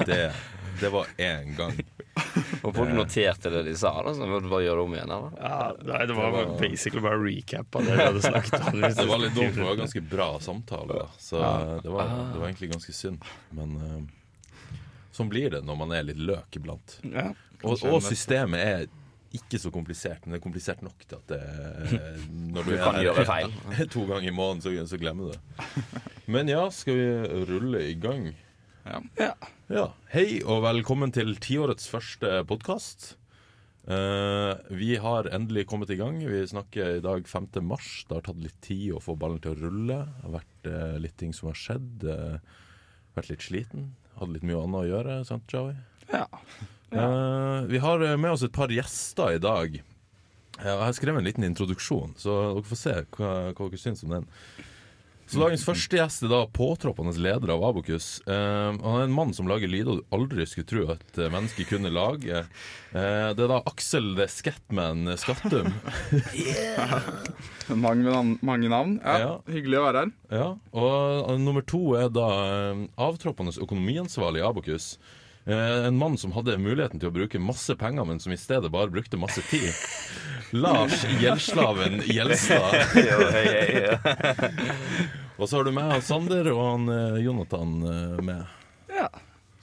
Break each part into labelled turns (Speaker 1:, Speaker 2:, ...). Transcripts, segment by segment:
Speaker 1: Det, det var én gang.
Speaker 2: Og folk noterte det de sa, da, så vi bare gjøre det om igjen. eller?
Speaker 3: Ja, nei, det var bare basically bare recap av det vi hadde snakket om.
Speaker 1: Det var litt dumt, for det var ganske bra samtale. Da. Så det var, det var egentlig ganske synd. Men eh, sånn blir det når man er litt løk iblant.
Speaker 3: Ja.
Speaker 1: Og, og systemet er ikke så komplisert, men det er komplisert nok til at det eh, Når du,
Speaker 2: kan
Speaker 1: er
Speaker 2: gjøre feil.
Speaker 1: to ganger i måneden, så, så glemmer du det. Men ja, skal vi rulle i gang?
Speaker 3: Ja.
Speaker 1: Ja. Hei og velkommen til tiårets første podkast. Eh, vi har endelig kommet i gang. Vi snakker i dag 5. mars. Det har tatt litt tid å få ballen til å rulle. Det har vært eh, litt ting som har skjedd. Eh, vært litt sliten. Hadde litt mye annet å gjøre, sant, Joey?
Speaker 3: ja.
Speaker 1: Eh, vi har eh, med oss et par gjester i dag. Eh, og Jeg har skrevet en liten introduksjon, så dere får se hva, hva dere syns om den. Så Dagens første gjest er da påtroppende leder av Abokus. Eh, han er en mann som lager lyder du aldri skulle tro at eh, mennesker kunne lage. Eh, det er da Aksel the Scatman Skattum.
Speaker 4: Mange navn. Mange navn. Ja,
Speaker 1: Ja.
Speaker 4: Hyggelig å være her.
Speaker 1: Ja, og eh, nummer to er da eh, avtroppende økonomiansvarlig i Abokus. Eh, en mann som hadde muligheten til å bruke masse penger, men som i stedet bare brukte masse tid. Lars Gjeldslaven Gjelstad.
Speaker 2: Jo, hei, hei, ja.
Speaker 1: Og så har du meg og Sander og han eh, Jonathan eh, med.
Speaker 3: Ja.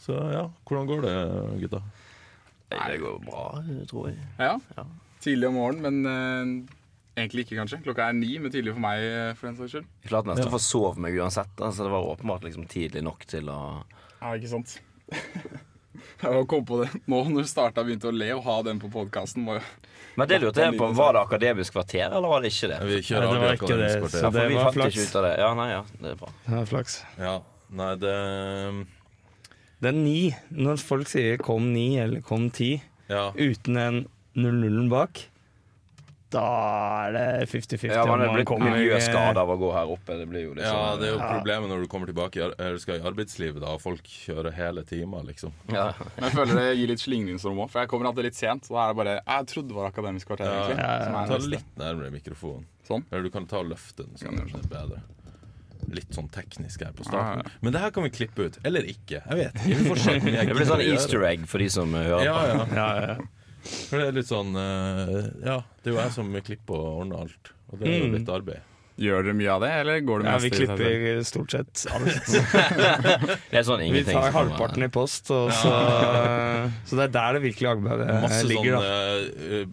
Speaker 1: Så ja, hvordan går det, gutta?
Speaker 2: Nei, det går bra, tror jeg.
Speaker 4: Ja. Tidlig om morgenen, men eh, egentlig ikke, kanskje. Klokka er ni, men tidlig for meg, eh, for den saks skyld.
Speaker 2: Jeg klarte nesten
Speaker 1: Ja.
Speaker 2: å forsove meg uansett. da, Så det var åpenbart liksom tidlig nok til å
Speaker 4: Ja, ikke sant? Jeg kom på det nå når du starta begynte å le og ha den på podkasten.
Speaker 2: Men det lurte jeg på, var det Akademisk kvarter, eller var det ikke det?
Speaker 1: Vi
Speaker 3: Nei,
Speaker 1: kjører
Speaker 3: det var
Speaker 1: aldri
Speaker 3: ikke det,
Speaker 1: Akademisk
Speaker 2: Ja,
Speaker 3: så
Speaker 1: kvarter.
Speaker 2: for
Speaker 3: det
Speaker 2: vi
Speaker 3: var
Speaker 2: fant
Speaker 3: flaks.
Speaker 2: ikke ut av det. Ja, nei, ja, det er bra.
Speaker 3: Det er flaks.
Speaker 1: Ja, nei, det
Speaker 3: Det er ni. Når folk sier 'kom ni' eller 'kom ti'
Speaker 1: Ja.
Speaker 3: uten en 0-0-en bak, da er det 50-50.
Speaker 2: Ja,
Speaker 3: om
Speaker 2: man er
Speaker 3: man
Speaker 2: blitt
Speaker 3: kommer-
Speaker 2: miljøskada av å gå her oppe. Det blir jo liksom
Speaker 1: Ja, det er jo
Speaker 3: Ja.
Speaker 1: problemet når du kommer tilbake i ar- eller skal i arbeidslivet, da. og Folk kjører hele timer, liksom.
Speaker 2: ja.
Speaker 4: Men jeg føler det gir litt slingringsrom òg, for jeg kommer alltid litt sent. Så da er det bare Jeg trodde det var Akademisk kvarter,
Speaker 1: Ja,
Speaker 4: egentlig.
Speaker 3: ja, ja.
Speaker 4: Som
Speaker 1: Ta
Speaker 4: er neste.
Speaker 1: litt nærmere mikrofonen.
Speaker 4: Sånn.
Speaker 1: Eller du kan ta og løfte den, så
Speaker 4: Ja, det er
Speaker 1: kanskje det er bedre. Litt sånn teknisk her på
Speaker 4: Ja, ja.
Speaker 1: starten. Men det her kan vi klippe ut. Eller ikke. Jeg vet ikke. Vi får se hvor mye jeg
Speaker 2: Det blir sånn
Speaker 1: gidder å gjøre.
Speaker 2: easter egg for de som eh, hører
Speaker 1: Ja,
Speaker 2: på.
Speaker 1: ja.
Speaker 3: Ja, ja, ja.
Speaker 1: For det er litt sånn eh, Ja, det er jo jeg som klipper og ordner alt. Og det er jo
Speaker 3: Mm.
Speaker 1: litt arbeid.
Speaker 4: Gjør dere mye av det, eller går det
Speaker 3: ja,
Speaker 4: mest
Speaker 3: vi klipper stort sett alt.
Speaker 2: Det er sånn
Speaker 3: Vi
Speaker 2: ingenting
Speaker 3: tar
Speaker 2: som kommer-
Speaker 3: halvparten i post, og så, så det er der det virkelige arbeidet
Speaker 1: Masse
Speaker 3: ligger.
Speaker 1: sånn
Speaker 3: Da.
Speaker 1: eh,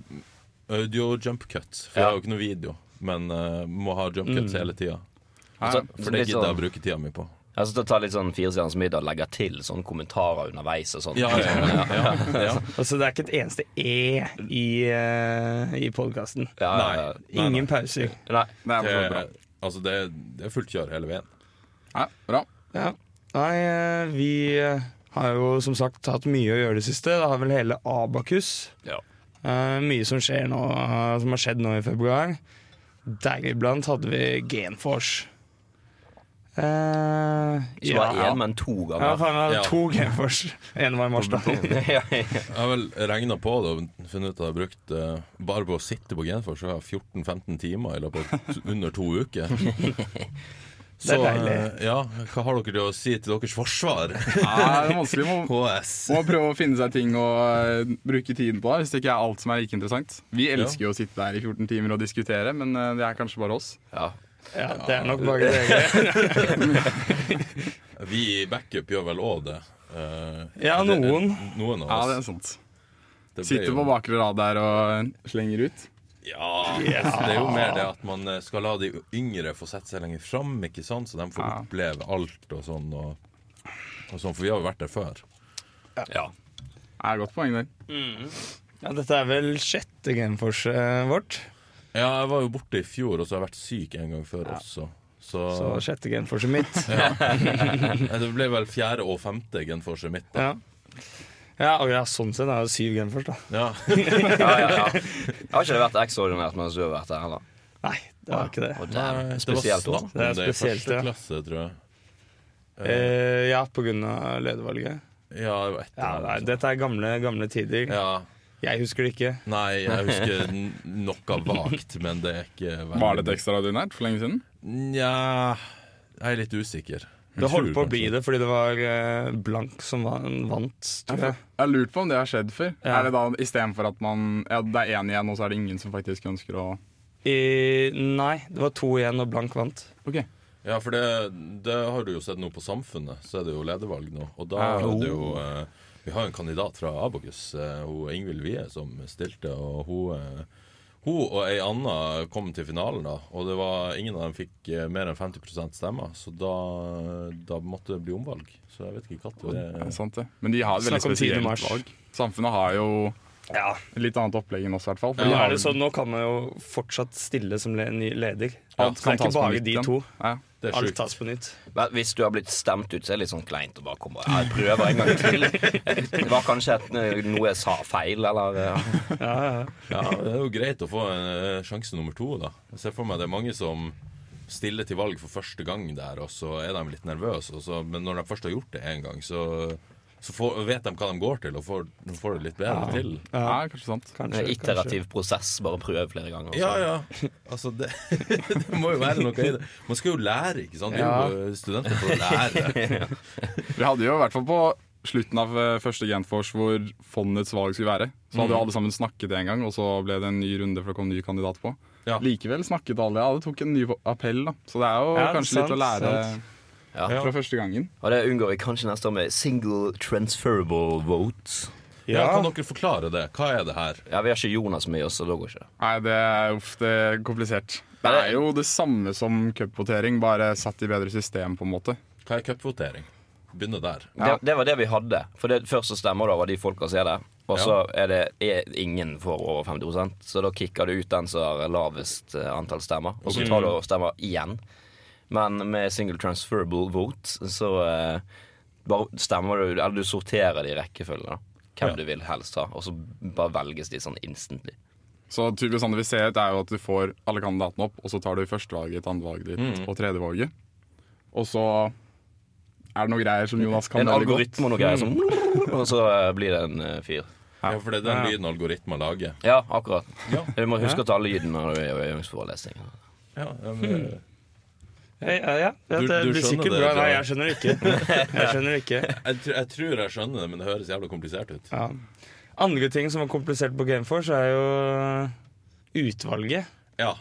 Speaker 1: audio jump cuts. For jeg har jo ikke noe video, men eh, må ha jump cuts hele tida.
Speaker 2: Så-
Speaker 4: Ja,
Speaker 1: For det
Speaker 2: litt
Speaker 1: gidder jeg
Speaker 2: sånn-
Speaker 1: å bruke tida mi på.
Speaker 2: Jeg synes det tar litt sånn firestjerners middag og legge til sånne kommentarer underveis og sånn.
Speaker 1: Ja, ja, ja, ja, ja.
Speaker 3: Og så Altså, det er ikke et eneste E i, eh, i podkasten.
Speaker 2: Ja,
Speaker 1: Nei.
Speaker 2: ja,
Speaker 1: Nei, nei.
Speaker 3: Ingen pauser.
Speaker 2: ja. Nei.
Speaker 1: Det,
Speaker 4: det er for så vidt bra.
Speaker 1: er- altså, det, er- det er fullt kjør hele veien.
Speaker 4: Ja, bra.
Speaker 3: Ja. Nei, eh, vi eh, har jo som sagt hatt mye å gjøre det siste. Det har vel hele Abakus.
Speaker 2: Ja.
Speaker 3: Eh, mye som skjer nå, eh, som har skjedd nå i februar. Deriblant hadde vi Genforce. Eh,
Speaker 2: Ikke bare
Speaker 3: ja.
Speaker 2: én, men to
Speaker 3: Ja,
Speaker 2: ganger.
Speaker 3: faen, vi hadde
Speaker 1: Ja.
Speaker 3: to Genforce. En var i mars, da.
Speaker 2: Ja, ja.
Speaker 1: Jeg har vel regna på det og funnet ut at jeg har brukt eh, bare på å sitte på Genfors så har jeg 14-15 timer i løpet av t- under to uker. Så,
Speaker 3: deilig.
Speaker 1: eh, ja, hva har dere til å si til deres forsvar?
Speaker 4: Ja, det er vanskelig med å
Speaker 1: KS.
Speaker 4: Man må prøve å finne seg ting å eh, bruke tiden på, hvis det ikke er alt som er like interessant. Vi elsker jo å sitte der i 14 timer og diskutere, men eh, det er kanskje bare oss.
Speaker 2: ja.
Speaker 3: Ja, det er nok bare dere.
Speaker 1: Vi i backup gjør vel òg det. eh,
Speaker 3: Ja,
Speaker 1: det-
Speaker 3: noen.
Speaker 1: Noen
Speaker 4: Ja,
Speaker 1: av
Speaker 4: det er
Speaker 1: oss.
Speaker 4: sant.
Speaker 1: Det ble
Speaker 4: Sitter
Speaker 1: jo-
Speaker 4: på bakre rad der og eh, slenger ut.
Speaker 1: Ja, altså, det er jo mer det at man eh, skal la de yngre få sette seg lenger fram, ikke sant? så de får
Speaker 4: Ja.
Speaker 1: oppleve alt og sånn. Og, og sånn, for vi har jo vært der før.
Speaker 2: ja.
Speaker 4: Ja, godt poeng der.
Speaker 3: Ja, dette er vel sjette Genforce eh, vårt.
Speaker 1: Ja, jeg var jo borte i fjor, og så har jeg vært syk en gang før også. Så,
Speaker 3: Så sjette Genforce mitt.
Speaker 1: Nei, det ble vel fjerde og femte genforset mitt. Da.
Speaker 3: Ja. Ja, og ja, sånn sett er det syv Genforce, da.
Speaker 1: Ja.
Speaker 2: ja, ja, ja. Har ikke det vært ekstraordinært mens du har vært her heller?
Speaker 3: Nei, det var ikke det.
Speaker 2: Og det er
Speaker 1: Nei,
Speaker 2: spesielt
Speaker 1: det var
Speaker 2: da.
Speaker 1: snakk
Speaker 3: Det
Speaker 1: om
Speaker 3: er
Speaker 1: det i
Speaker 3: spesielt,
Speaker 1: første
Speaker 3: ja.
Speaker 1: klasse, tror jeg.
Speaker 3: Eh, ja, på grunn av ledervalget.
Speaker 1: Ja, det var etter
Speaker 3: Ja, nei, dette er gamle, gamle tider.
Speaker 1: ja.
Speaker 3: Jeg husker det ikke.
Speaker 1: Nei, jeg husker n- noe vagt, men det er ikke veldig-
Speaker 4: Var det et ekstraordinært for lenge siden?
Speaker 1: Nja Jeg er litt usikker. Jeg
Speaker 3: Det holdt
Speaker 1: tror
Speaker 3: på å bli
Speaker 1: kanskje-
Speaker 3: det fordi det var eh, Blank som var, vant, tror jeg.
Speaker 4: Jeg har lurt på om det har skjedd før.
Speaker 3: Ja.
Speaker 4: Er det da istedenfor at man ja, det er én igjen, og så er det ingen som faktisk ønsker å
Speaker 3: I, nei, det var to igjen, og Blank vant.
Speaker 4: Ok.
Speaker 1: Ja, for det, det har du jo sett nå på Samfunnet, så er det jo ledervalg nå. Og da
Speaker 4: Ah,
Speaker 1: er det jo eh, Vi har en kandidat fra Abokus, eh, hun Ingvild Wie, som stilte, og hun eh, hun og ei anna kom til finalen, da, og det var ingen av dem fikk eh, mer enn 50 stemmer. Så da, da måtte det bli omvalg. Så jeg vet ikke når
Speaker 4: Ja,
Speaker 1: det
Speaker 4: sant det. Men de har et veldig
Speaker 3: Snakk om 10.
Speaker 4: spesielt
Speaker 3: mars.
Speaker 4: valg. Samfunnet har jo
Speaker 3: Ja,
Speaker 4: et litt annet opplegg enn oss, i hvert fall. For
Speaker 3: men
Speaker 4: de
Speaker 3: nå,
Speaker 4: har
Speaker 3: er det
Speaker 4: vel-
Speaker 3: sånn, nå kan man jo fortsatt stille som le- ny leder. så
Speaker 4: alt
Speaker 3: det
Speaker 4: kan
Speaker 3: er ikke
Speaker 4: tas på
Speaker 3: bare
Speaker 4: nytt
Speaker 3: de
Speaker 4: igjen.
Speaker 3: to.
Speaker 4: Ja.
Speaker 1: Det er
Speaker 3: Alt
Speaker 1: sjukt.
Speaker 3: tas på nytt.
Speaker 2: Men hvis du har blitt stemt ut, så er det litt sånn kleint å bare komme og ja, jeg prøver en gang til. Det var kanskje et, noe jeg sa feil, eller eh,
Speaker 3: Ja, ja.
Speaker 1: Ja, det er jo greit å få eh, sjanse nummer to, da. Jeg ser for meg det er mange som stiller til valg for første gang der, og så er de litt nervøse. Og så, men når de først har gjort det én gang, så, så får, vet de hva de går til, og får, får det litt bedre til.
Speaker 4: Ja.
Speaker 3: Ja,
Speaker 4: kanskje sant.
Speaker 3: kanskje,
Speaker 2: iterativ prosess. Bare prøve flere ganger.
Speaker 1: Ja, ja. Altså, det, det må jo være noe i det. Man skal jo lære, ikke sant? Vi er jo studenter for å lære.
Speaker 4: Vi hadde jo i hvert fall på slutten av eh, første Genfors hvor fondets valg skulle være. Så hadde jo alle sammen snakket en gang, og så ble det en ny runde for det kom en ny kandidat på.
Speaker 1: Ja.
Speaker 4: Likevel snakket alle. Alle tok en ny appell, da. Så det er jo
Speaker 3: Ja,
Speaker 4: kanskje litt
Speaker 3: sant,
Speaker 4: å lære
Speaker 3: sant.
Speaker 2: Ja.
Speaker 4: fra første gangen.
Speaker 2: Og det unngår vi kanskje neste år med single transferable votes.
Speaker 1: Ja, kan
Speaker 3: Ja.
Speaker 1: dere forklare det? Hva er det her?
Speaker 2: Ja, Vi har ikke Jonas med oss, så det går ikke.
Speaker 4: Nei, det er uff, det er komplisert. Det er jo det samme som cupvotering, bare satt i bedre system, på en måte.
Speaker 1: Hva er cupvotering? Begynne der.
Speaker 4: Ja.
Speaker 2: Det, det var det vi hadde. For det, Først så stemmer det over de folka som er der. Og så er det er ingen får over 50 så da kicker du ut den som har lavest eh, antall stemmer. Og så tar du og stemmer igjen. Men med single transferable vote så eh, bare stemmer du Eller du sorterer de i rekkefølge, da. Hvem
Speaker 1: Ja.
Speaker 2: du vil helst ha. Og så bare velges de sånn instantly.
Speaker 4: Så typisk sånn det vi ser ut er jo at du får alle kandidatene opp, og så tar du førstevalget, andrevalget ditt
Speaker 2: Mm.
Speaker 4: og tredjevalget. Og så er det noen greier som Jonas kan
Speaker 2: En
Speaker 4: veldig godt.
Speaker 2: algoritme og noe greier som Og så eh, blir det en eh, fyr.
Speaker 1: Ja, for det er den lyden algoritmer lager.
Speaker 2: Ja, akkurat.
Speaker 1: Ja.
Speaker 2: Du må huske å ta lyden når du er i øvingsforelesning.
Speaker 1: Ja, ja, men,
Speaker 3: Ja, ja, ja.
Speaker 1: Du-
Speaker 3: Det
Speaker 1: du
Speaker 3: blir
Speaker 1: skjønner
Speaker 3: sikkert
Speaker 1: det,
Speaker 3: bra.
Speaker 1: Jan.
Speaker 3: Nei, jeg skjønner det ikke. Jeg skjønner det ikke.
Speaker 1: jeg, tr- jeg tror jeg skjønner det, men det høres jævla komplisert ut.
Speaker 3: Ja. Andre ting som var komplisert på Gameforce, er jo eh, utvalget.
Speaker 1: Ja.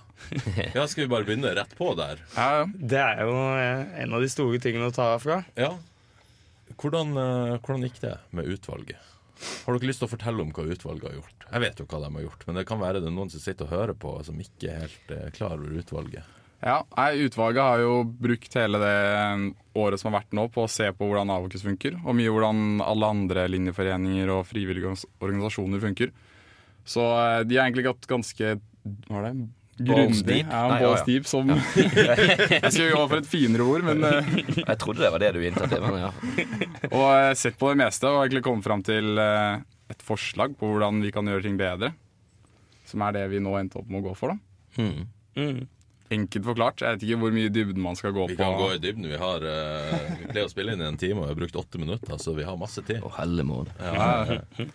Speaker 1: ja, skal vi bare begynne rett på der?
Speaker 4: Ja, ja.
Speaker 3: Det er jo eh, en av de store tingene å ta fra.
Speaker 1: Ja. Hvordan, eh, hvordan gikk det med utvalget? Har dere lyst til å fortelle om hva utvalget har gjort? Jeg vet jo hva de har gjort, men det kan være det er noen som sitter og hører på, som ikke er helt eh, klar over utvalget.
Speaker 4: Ja, nei, Utvalget har jo brukt hele det um, året som har vært nå på å se på hvordan Avokus funker, og mye hvordan alle andre linjeforeninger og frivillige organs- organisasjoner funker. Så eh, de har egentlig gått ganske hva var det?
Speaker 2: Balls
Speaker 4: Grundig.
Speaker 2: deep?
Speaker 4: Ja,
Speaker 2: Nei,
Speaker 4: balls
Speaker 2: ja, ja.
Speaker 4: deep som Jeg skulle gå for et finere ord, men eh,
Speaker 2: Jeg trodde det var det du inntatte, men ja.
Speaker 4: Og eh, sett på det meste og egentlig kommet fram til eh, et forslag på hvordan vi kan gjøre ting bedre. Som er det vi nå endte opp med å gå for, da.
Speaker 2: Hmm.
Speaker 3: Mm.
Speaker 4: Enkelt forklart. Jeg vet ikke hvor mye dybden man skal gå
Speaker 1: Vi
Speaker 4: på.
Speaker 1: kan gå i dybden. Vi, har, eh, vi pleier å spille inn i en time, og vi har brukt åtte minutter, så vi har masse tid.
Speaker 2: Å, hellemål.
Speaker 1: Ja,
Speaker 2: Hmm.
Speaker 1: eh,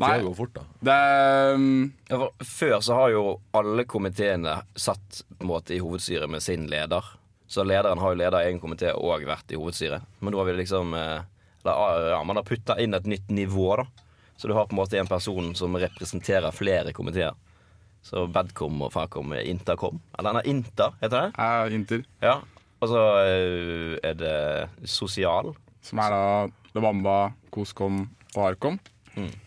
Speaker 4: Nei.
Speaker 1: Tida går fort, da.
Speaker 4: Det er mm,
Speaker 2: Ja, for Før så har jo alle komiteene satt på en måte i hovedstyret med sin leder. Så lederen har jo leder i egen komité og vært i hovedstyret. Men nå har vi liksom eh, eller, ja, Man har putta inn et nytt nivå, da. Så du har på en måte en person som representerer flere komiteer. Så Bedcom og Facom er Intercom. Eller nei, Inter, heter det.
Speaker 4: er Inter,
Speaker 2: Ja. Og så eh, er det sosial.
Speaker 4: som er da Lebamba, Koskom og Arkom.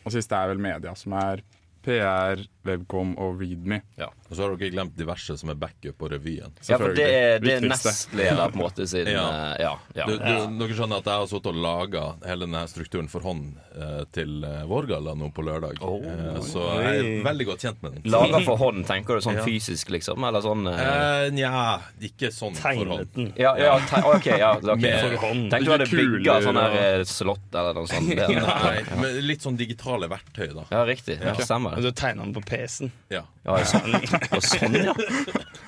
Speaker 4: Og sist er vel media, som er PR, Webcom og Readme.
Speaker 1: Og så har dere glemt diverse som er backup og revyen.
Speaker 2: Ja, for det er, det er
Speaker 4: Viktigste.
Speaker 2: nestleder, på en måte, siden
Speaker 1: Ja.
Speaker 2: eh, ja, ja.
Speaker 1: Du, du, Dere skjønner at jeg har sittet og laga hele denne strukturen for hånd eh, til eh, Vårgalla nå på lørdag.
Speaker 2: Oh.
Speaker 1: eh, så jeg er veldig godt kjent med den.
Speaker 2: Lager for hånd, tenker du sånn
Speaker 1: Ja.
Speaker 2: fysisk, liksom? Eller sånn eh,
Speaker 1: Eh, Nja, ikke sånn for
Speaker 3: Tegnet
Speaker 1: hånd.
Speaker 3: den.
Speaker 2: Ja, ja, te ok, ja ok.
Speaker 1: Med
Speaker 3: hånd.
Speaker 2: Tenk du hadde
Speaker 4: Kuler
Speaker 2: bygga sånn
Speaker 4: og-
Speaker 2: her eh, slott eller noe sånt. Det,
Speaker 1: Nei, men litt sånn digitale verktøy, da.
Speaker 2: ja, riktig. Ja, stemmer
Speaker 3: Og så tegna han på PC-en.
Speaker 1: Ja.
Speaker 2: Ja, ja. Og sånn, ja.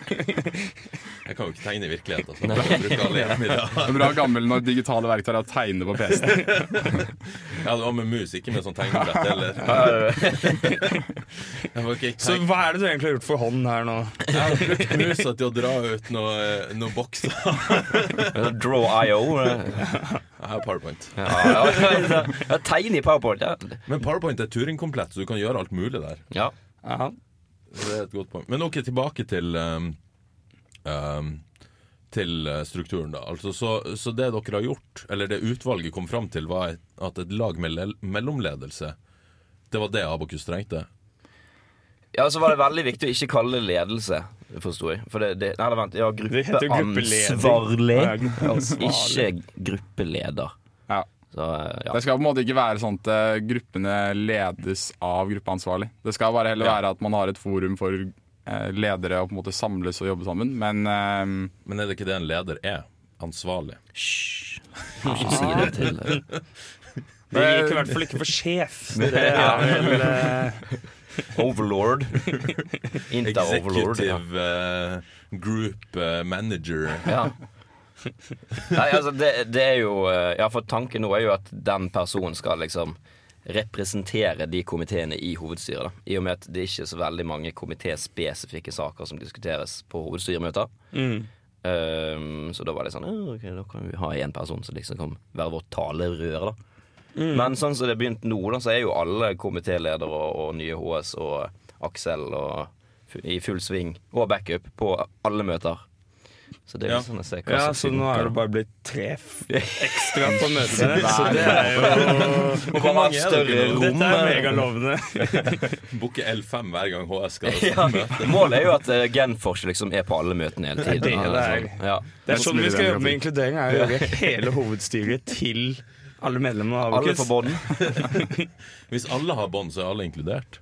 Speaker 1: Jeg kan jo ikke tegne i virkeligheten. Altså. Jeg bruker alle hjelpemidler.
Speaker 4: Det er bra gammel når digitale verktøy er å tegne på PC-en.
Speaker 1: Ja, det var med mus, ikke med sånn tegnebrett heller. Jeg var ikke
Speaker 3: Så
Speaker 1: tegn-
Speaker 3: hva er det du egentlig har gjort for hånd her nå?
Speaker 1: Jeg har brukt musa til å dra ut noen noe bokser.
Speaker 2: Draw IO.
Speaker 1: Jeg har powerpoint.
Speaker 2: Ja, ja. ja, Tegn i PowerPoint. Ja.
Speaker 1: Men powerpoint er turingkomplett, så du kan gjøre alt mulig der.
Speaker 2: ja.
Speaker 3: Ja.
Speaker 1: Så Det er et godt poeng. Men ok, tilbake til um, um, Til eh, strukturen, da. Altså, så, så det dere har gjort, eller det utvalget kom fram til, var et- at et lag med le- mellomledelse Det var det Abokus trengte.
Speaker 2: Ja, så var det veldig viktig å ikke kalle det ledelse, forsto jeg. For det, det, nei, vent, ja,
Speaker 3: Det heter jo gruppeleder.
Speaker 2: gruppeansvarlig.
Speaker 3: Ja, gruppeansvarlig.
Speaker 2: Ikke gruppeleder.
Speaker 4: Ja.
Speaker 2: Så, eh, ja.
Speaker 4: Det skal på en måte ikke være sånn at eh, gruppene ledes av gruppeansvarlig. Det skal bare heller være at man har et forum for eh, ledere og på en måte samles og jobbe sammen. Men eh,
Speaker 1: Men er det ikke det en leder er? Ansvarlig.
Speaker 2: Hysj. Ikke si det til
Speaker 3: Det gikk i hvert fall ikke for sjef. Så det er
Speaker 2: Ja.
Speaker 3: vel eh,
Speaker 2: Overlord. Inter-overlord. Ja.
Speaker 1: Executive eh, group eh, manager.
Speaker 2: Ja. Nei, altså, det, det er jo eh, Ja, for tanken nå er jo at den personen skal liksom representere de komiteene i hovedstyret. Da. I og med at det ikke er så veldig mange komitéspesifikke saker som diskuteres på hovedstyremøter.
Speaker 3: mm.
Speaker 2: Ehm, så da var det sånn «Ja, Ok, da kan vi ha én person som liksom kan være vårt talerør, da.
Speaker 3: Mm.
Speaker 2: Men sånn som det er begynt nå, da, så er jo alle komitéledere og, og nye HS og Aksel og fu- i full sving og backup på alle møter. Så det er
Speaker 1: Ja.
Speaker 2: jo sånn jeg ser hva
Speaker 3: Ja,
Speaker 2: som
Speaker 3: så nå er
Speaker 2: funker.
Speaker 3: det bare blitt tre f- ekstra på møtet. Så det er jo
Speaker 2: Må bare ha
Speaker 1: mange
Speaker 2: et
Speaker 1: er det
Speaker 2: større
Speaker 1: ikke nå?
Speaker 2: rom. eh?
Speaker 3: Dette er megalovende.
Speaker 1: Booke L5 hver gang HS skal Altså,
Speaker 2: Ja, målet er jo at eh, Genfors liksom er på alle møtene hele tiden.
Speaker 3: Det er det
Speaker 2: sånn. ja.
Speaker 3: Det er sånn vi skal jobbe med inkludering. er å gjøre hele hovedstyret til alle medlemmene av
Speaker 2: Alle på
Speaker 3: Abokus.
Speaker 2: bånn.
Speaker 1: Hvis alle har bånd, så er alle inkludert.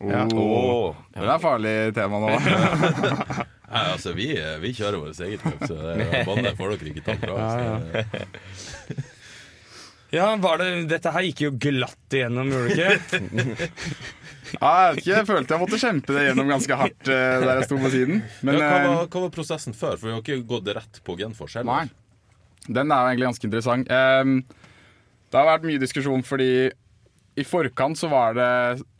Speaker 3: Ja.
Speaker 4: oh, Det er farlig tema nå.
Speaker 1: Nei, altså, vi, vi kjører vårt eget løp, så det- båndet får dere ikke tatt fra oss. Det-
Speaker 3: Ja, var det, dette her gikk jo glatt igjennom, gjorde det ikke?
Speaker 4: Ja, jeg vet ikke, jeg følte jeg måtte kjempe det gjennom ganske hardt eh, der jeg sto på siden. Men
Speaker 1: ja, hva,
Speaker 4: eh,
Speaker 1: var, hva var prosessen før? For vi har ikke gått rett på genfors
Speaker 4: Nei.
Speaker 1: heller.
Speaker 4: Den er jo egentlig ganske interessant. Ehm, det har vært mye diskusjon fordi i forkant så var det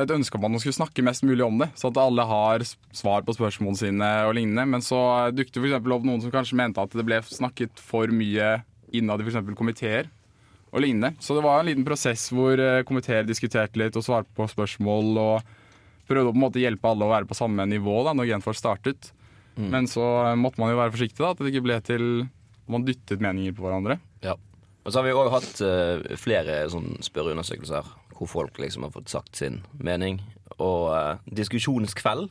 Speaker 4: et ønske om at man skulle snakke mest mulig om det, sånn at alle har s- svar på spørsmålene sine og lignende. Men så eh, dukket det for eksempel opp noen som kanskje mente at det ble snakket for mye innad i for eksempel komiteer og lignende. Så det var en liten prosess hvor eh, komiteer diskuterte litt og svarte på spørsmål og prøvde å på en måte hjelpe alle å være på samme nivå da når Genfors startet. Men så eh, måtte man jo være forsiktig, da, at det ikke ble til man dyttet meninger på hverandre.
Speaker 2: Ja. Og så har vi òg hatt eh, flere sånn spørreundersøkelser hvor folk liksom har fått sagt sin mening. Og eh, diskusjonskveld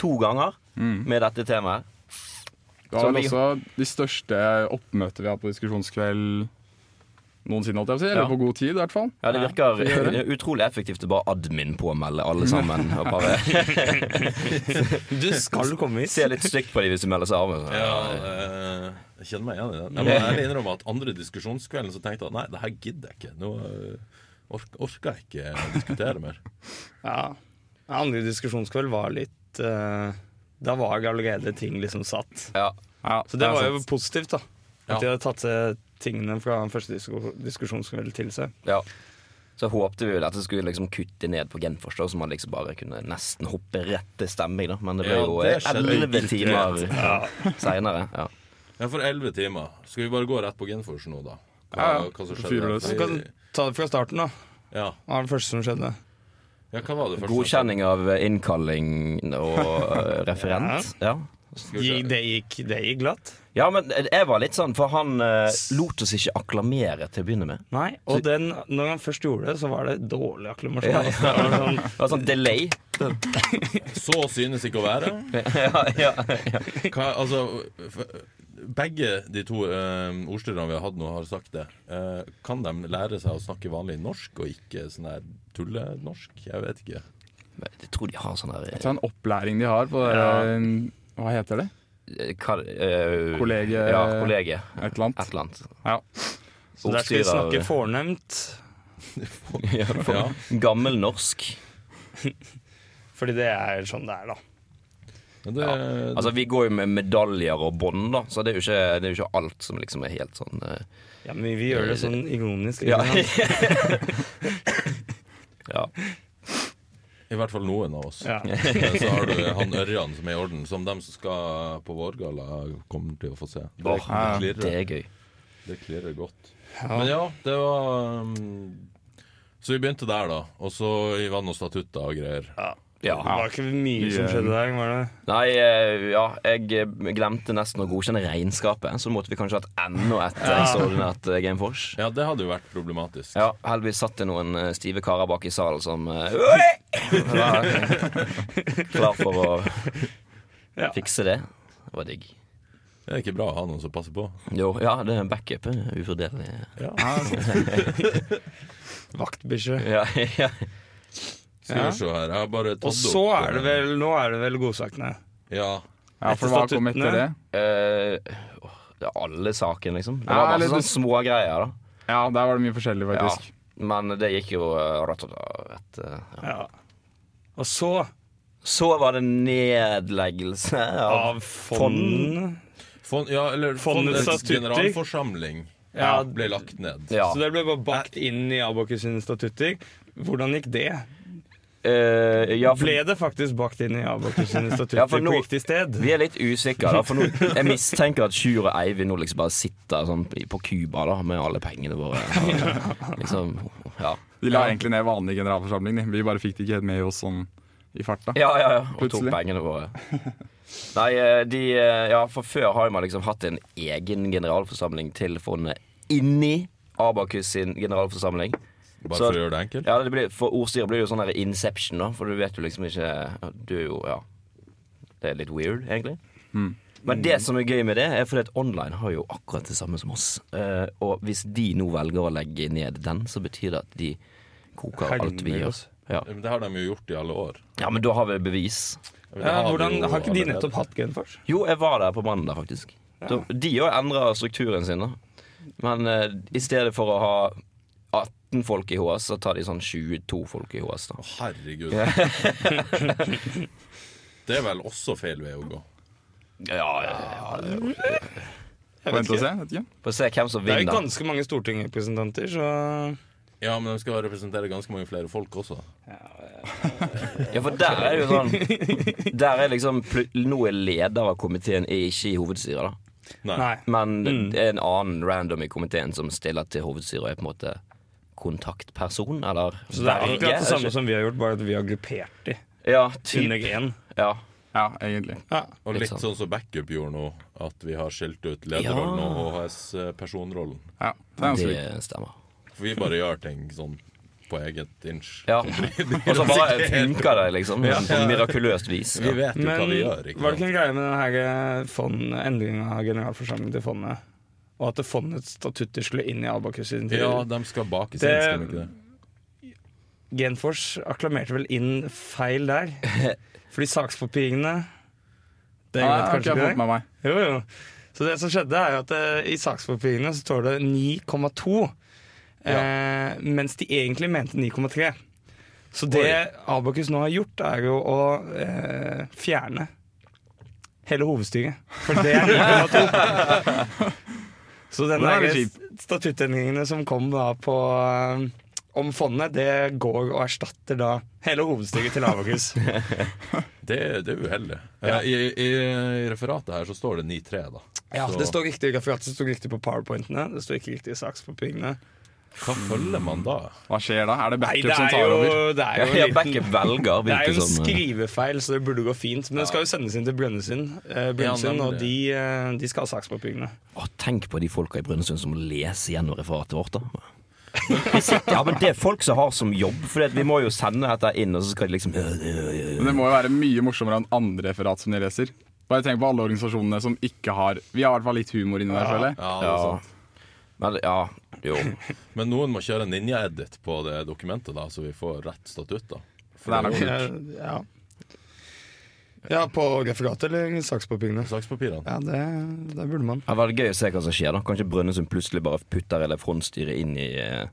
Speaker 2: to ganger med dette temaet.
Speaker 4: Det
Speaker 2: Så
Speaker 4: var vel
Speaker 2: vi-
Speaker 4: også de største oppmøtene vi har på diskusjonskveld noensinne, holdt jeg på å si.
Speaker 2: Ja.
Speaker 4: Eller på god tid, i hvert fall.
Speaker 2: Ja, Det virker
Speaker 4: vi gjør
Speaker 2: utrolig effektivt å bare admin påmelde alle sammen. Og bare
Speaker 3: Du skal komme hit.
Speaker 2: se litt stygt på dem hvis du melder seg av. altså. Så.
Speaker 1: Ja, eh, jeg kjenner meg igjen i det. Jeg må ærlig innrømme at andre diskusjonskvelden så tenkte jeg at nei, det her gidder jeg ikke. Nå eh, ork orker jeg ikke å diskutere mer.
Speaker 3: Ja. Ja, Andre diskusjonskveld var litt eh, Da var jo allerede ting liksom satt.
Speaker 2: Ja.
Speaker 4: Ja,
Speaker 3: Så det
Speaker 4: er
Speaker 3: var jo
Speaker 4: sant.
Speaker 3: positivt, da. At
Speaker 1: Ja.
Speaker 3: de hadde tatt seg tingene fra den første disku- diskusjonskvelden til seg.
Speaker 2: Ja. Så håpte vi vel at det skulle liksom kutte ned på Genfors, da, så man liksom bare kunne nesten hoppe rett til stemming. da Men det ble
Speaker 1: Ja,
Speaker 2: jo eh,
Speaker 1: det skjedde
Speaker 2: elleve
Speaker 1: ikke.
Speaker 2: timer seinere. Ja.
Speaker 1: Ja, for elleve timer. Skal vi bare gå rett på genfors nå, da?
Speaker 4: Ja, ja.
Speaker 1: hva som
Speaker 4: Fyr
Speaker 1: skjedde?
Speaker 4: løs.
Speaker 3: Så kan
Speaker 1: Fordi-
Speaker 3: du ta det fra starten, da.
Speaker 1: Ja.
Speaker 3: Hva var det første som skjedde?
Speaker 1: ja, hva var det første?
Speaker 2: Godkjenning av innkalling og eh, referent. Ja.
Speaker 1: Skal vi se.
Speaker 3: Gi- Det gikk, det gikk glatt.
Speaker 2: ja, men jeg var litt sånn, for han eh, lot oss ikke akklamere til å begynne med.
Speaker 3: Nei, og den, når han først gjorde det, så var det dårlig akklamasjon.
Speaker 2: Ja,
Speaker 3: altså. Det var sånn,
Speaker 2: Det var sånn delay.
Speaker 1: Så synes ikke å være.
Speaker 2: ja, ja, ja.
Speaker 1: Hva, altså, f- begge de to eh, ordstyrerne vi har hatt nå, har sagt det. Eh, kan de lære seg å snakke vanlig norsk, og ikke sånn der tullenorsk? Jeg vet ikke.
Speaker 2: Men Jeg tror de har sånn her
Speaker 4: Det er en opplæring de har på det eh, Hva heter det?
Speaker 2: eh, hva, eh,
Speaker 4: Kollege-
Speaker 2: Ja, kollege.
Speaker 4: Et eller
Speaker 2: Et
Speaker 4: annet.
Speaker 2: eller annet.
Speaker 4: Ja.
Speaker 3: så der skal vi snakke
Speaker 2: Ordstyrer-
Speaker 3: fornemt.
Speaker 2: Ja, for-
Speaker 1: Ja.
Speaker 2: Gammel norsk.
Speaker 3: Fordi det er sånn det er, da.
Speaker 1: Men det,
Speaker 2: Altså, vi går jo med medaljer og bånd, da, så det er, jo ikke, det er jo ikke alt som liksom er helt sånn eh,
Speaker 3: Ja, men vi gjør det sånn ironisk.
Speaker 2: Ja.
Speaker 3: ikke sant?
Speaker 2: ja.
Speaker 1: I hvert fall noen av oss.
Speaker 3: Ja.
Speaker 1: Men Så har du han Ørjan som er i orden, som dem som skal på Vårgalla, kommer til å få se. Det,
Speaker 2: Åh,
Speaker 1: det
Speaker 2: Det
Speaker 1: klirrer.
Speaker 2: er gøy.
Speaker 1: Det klirrer godt.
Speaker 3: Ja.
Speaker 1: Men ja, det var um, Så vi begynte der, da. Og så i vann og statutter og greier.
Speaker 3: Ja.
Speaker 2: Ja. eh,
Speaker 3: Det var ikke mye som skjedde der, var det?
Speaker 2: Nei, eh, ja, jeg eh, glemte nesten å godkjenne regnskapet, så måtte vi kanskje hatt enda et ekstraordinært eh, Game Force.
Speaker 1: Ja, det hadde jo vært problematisk.
Speaker 2: Ja, heldigvis satt det noen eh, stive karer bak i salen som eh, var Klar for å
Speaker 3: Ja.
Speaker 2: fikse det. Det var digg.
Speaker 1: Det er ikke bra å ha noen som passer på.
Speaker 2: Jo, ja, det er backup. eh, Uvurderlig.
Speaker 3: Vaktbikkje.
Speaker 2: Ja, ja.
Speaker 1: Skal
Speaker 3: Ja.
Speaker 1: vi se her. Jeg har bare tatt
Speaker 3: Og så
Speaker 1: opp,
Speaker 3: er det
Speaker 1: eh,
Speaker 3: vel Nå er det vel godsakene.
Speaker 1: Ja.
Speaker 4: Ja, for hva kom etter det?
Speaker 2: Eh, åh, det er alle sakene, liksom. Det
Speaker 4: Ja,
Speaker 2: var bare
Speaker 4: eller du-
Speaker 2: sånne små greier, da.
Speaker 4: Ja, der var det mye forskjellig,
Speaker 2: Ja.
Speaker 4: faktisk.
Speaker 2: Men det gikk jo eh, rett og slett eh, ja.
Speaker 3: Ja. Og så
Speaker 2: Så var det nedleggelse av
Speaker 3: av fond.
Speaker 1: Fond, ja, eller
Speaker 3: Fondets
Speaker 1: Fondets
Speaker 3: statutter.
Speaker 1: generalforsamling
Speaker 3: Ja.
Speaker 1: ble lagt ned.
Speaker 2: Ja.
Speaker 3: Så det ble bare bakt inn i Abakus sine statutter. Hvordan gikk det?
Speaker 2: Eh, ja, for
Speaker 3: Ble det faktisk bakt inn i Abakus sine statutter
Speaker 2: Ja, for nå-
Speaker 3: på riktig sted?
Speaker 2: vi er litt usikre, da. For nå, jeg mistenker at Sjur og Eivind nå liksom bare sitter sånn på Cuba da, med alle pengene våre. Og, liksom, ja.
Speaker 4: De la egentlig ned vanlig generalforsamling. de. Vi bare fikk det ikke helt med oss sånn i farta.
Speaker 2: Ja, ja, ja. Og tok
Speaker 4: Plutselig.
Speaker 2: pengene våre. Nei, eh, de eh, Ja, for før har man liksom hatt en egen generalforsamling til fondet inni Abakus sin generalforsamling.
Speaker 1: Bare
Speaker 2: Så-
Speaker 1: for å gjøre det enkelt.
Speaker 2: Ja, det blir, For ordstyret blir det jo sånn her inception, da, for du vet jo liksom ikke Du er jo Ja. Det er litt weird, egentlig. Men det som er gøy med det, er fordi at online har jo akkurat det samme som oss. Eh, og hvis de nå velger å legge ned den, så betyr det at de koker alt vi
Speaker 3: Helmer
Speaker 2: gjør.
Speaker 3: oss.
Speaker 2: Ja.
Speaker 1: Men Det har de jo gjort i alle år.
Speaker 2: ja, men da har vi bevis.
Speaker 1: Men det
Speaker 3: Ja,
Speaker 1: vi
Speaker 3: hvordan,
Speaker 1: jo
Speaker 3: har ikke de
Speaker 1: allerede.
Speaker 3: nettopp hatt Genfors?
Speaker 2: Jo, jeg var der på mandag, faktisk. Da, de òg endra strukturen sin, da. Men eh, i stedet for å ha 18 folk i HS, så tar de sånn 22 folk i HS, da.
Speaker 1: Herregud. det er vel også feil vei å gå.
Speaker 2: Ja, ja, ja.
Speaker 4: Få vente og se. Vet ikke.
Speaker 2: Få se hvem som
Speaker 3: Det er jo
Speaker 2: vinner.
Speaker 3: ganske mange stortingsrepresentanter, så
Speaker 1: Ja, men de skal representere ganske mange flere folk også.
Speaker 2: Ja, for der er det jo sånn Der er liksom pl- Nå er leder av komiteen er ikke i hovedstyret, da.
Speaker 1: Nei.
Speaker 3: Nei.
Speaker 2: Men
Speaker 3: Mm.
Speaker 2: det er en annen random i komiteen som stiller til hovedstyret og er på en måte kontaktperson, eller
Speaker 3: Så det er
Speaker 2: verge,
Speaker 3: akkurat det samme
Speaker 2: ikke?
Speaker 3: som vi har gjort, bare at vi har gruppert de
Speaker 2: Ja,
Speaker 3: under
Speaker 2: typ.
Speaker 3: G1.
Speaker 2: Ja.
Speaker 4: Ja, egentlig.
Speaker 3: Ja.
Speaker 1: Og
Speaker 2: Litt
Speaker 1: litt
Speaker 2: sånn.
Speaker 1: sånn som backup gjorde nå, at vi har skilt ut lederrollen
Speaker 2: Ja.
Speaker 1: og HS-personrollen.
Speaker 4: Ja, det er ganske likt.
Speaker 2: Det stemmer.
Speaker 1: For vi bare gjør ting sånn på eget inch.
Speaker 2: Ja. Og så bare funker det, liksom. På mirakuløst vis.
Speaker 1: Vi vet jo
Speaker 3: Men
Speaker 1: hva vi
Speaker 3: var
Speaker 1: gjør,
Speaker 3: det
Speaker 1: ikke
Speaker 3: ikke
Speaker 1: sant?
Speaker 3: en greie med denne fond, endringen av generalforsamlingen til fondet? Og at det fondets statutter skulle inn i Abakus sin tid?
Speaker 1: Ja, de skal bakes inn,
Speaker 3: Det-
Speaker 1: skal de ikke det?
Speaker 3: Genfors akklamerte vel inn feil der. Fordi sakspapirene Det
Speaker 4: Ja,
Speaker 3: glemte
Speaker 4: har ikke
Speaker 3: kanskje
Speaker 4: jeg
Speaker 3: ikke
Speaker 4: fått
Speaker 3: deg?
Speaker 4: med meg.
Speaker 3: Jo, jo. Så det som skjedde, er jo at eh, i sakspapirene så står det 9,2. Eh, mens de egentlig mente 9,3. Så det Abakus nå har gjort, er jo å eh, fjerne hele hovedstyret. For det er 9,2. så
Speaker 4: Det
Speaker 3: denne
Speaker 4: er litt
Speaker 3: her statuttendringene som kom da på eh, om fondet, det går og erstatter da hele hovedstyret til Abakus.
Speaker 1: Det, det er uheldig.
Speaker 3: Ja.
Speaker 1: Eh, I, i, I referatet her så står det 9-3, da.
Speaker 3: Ja,
Speaker 1: så
Speaker 3: det står riktig i referatet, det står riktig på powerpointene, det står ikke riktig i sakspapirene.
Speaker 1: hva følger man da?
Speaker 4: Hva skjer da? Er det
Speaker 3: Nei,
Speaker 4: backup
Speaker 3: det
Speaker 4: som
Speaker 3: er
Speaker 4: tar
Speaker 3: jo,
Speaker 4: over?
Speaker 3: det er jo
Speaker 2: Ja,
Speaker 3: en liten
Speaker 2: Backup velger
Speaker 3: det er
Speaker 2: hvilke
Speaker 3: jo en
Speaker 2: som eh,
Speaker 3: skrivefeil, så det burde gå fint. Men det skal jo sendes inn til Brønnøysund, eh, Brønnøysund
Speaker 1: Ja,
Speaker 3: og
Speaker 1: nemlig.
Speaker 3: de, eh, de skal ha sakspapirene.
Speaker 2: Å, Tenk på de folka i Brønnøysund som leser gjennom referatet vårt, da. Vi sitter- Ja, men Det er folk som har som jobb, for vi må jo sende dette inn, og så skal de liksom
Speaker 4: Men det må jo være mye morsommere enn andre referat som de leser. Bare tenk på alle organisasjonene som ikke har Vi har i hvert fall litt humor inni der, føler jeg.
Speaker 1: Ja, det er
Speaker 2: Ja.
Speaker 1: sant.
Speaker 2: Men ja, jo.
Speaker 1: Men noen må kjøre ninja-edit på det dokumentet, da, så vi får rett statutt. da
Speaker 4: Det er nok
Speaker 3: Eh, ja. Eh, Ja, På referatet eller sakspapirene?
Speaker 1: Sakspapirene.
Speaker 3: Ja, det, det burde man.
Speaker 2: Det var gøy å se hva som skjer. da Kanskje Brønnøysund plutselig bare putter elefrontstyret inn i, eh,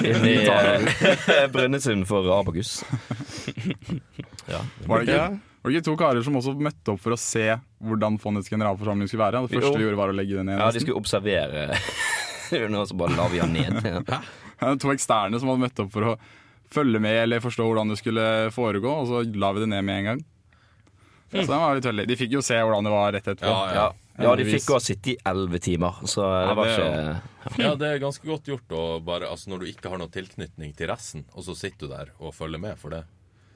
Speaker 2: inn i eh, Brønnøysund for Abakus. Ja.
Speaker 4: Var det,
Speaker 3: Ja.
Speaker 4: ikke, var det ikke to karer som også møtte opp for å se hvordan fondets generalforsamling skulle være? Det første
Speaker 2: Jo.
Speaker 4: vi gjorde, var å legge den ned.
Speaker 2: ja, de
Speaker 4: nesten.
Speaker 2: skulle observere. Nå så bare la vi han ned.
Speaker 4: Ja, To eksterne som hadde møtt opp for å følge med eller forstå hvordan det skulle foregå, og så la vi det ned med en gang. Så det var litt veldig. De fikk jo se hvordan det var rett etterpå.
Speaker 1: Ja,
Speaker 2: Ja, ja de fikk også sitte i elleve timer, så det var
Speaker 4: det er
Speaker 2: ikke
Speaker 1: Ja, det er ganske godt gjort å bare Altså når du ikke har noen tilknytning til resten, og så sitter du der og følger med for det.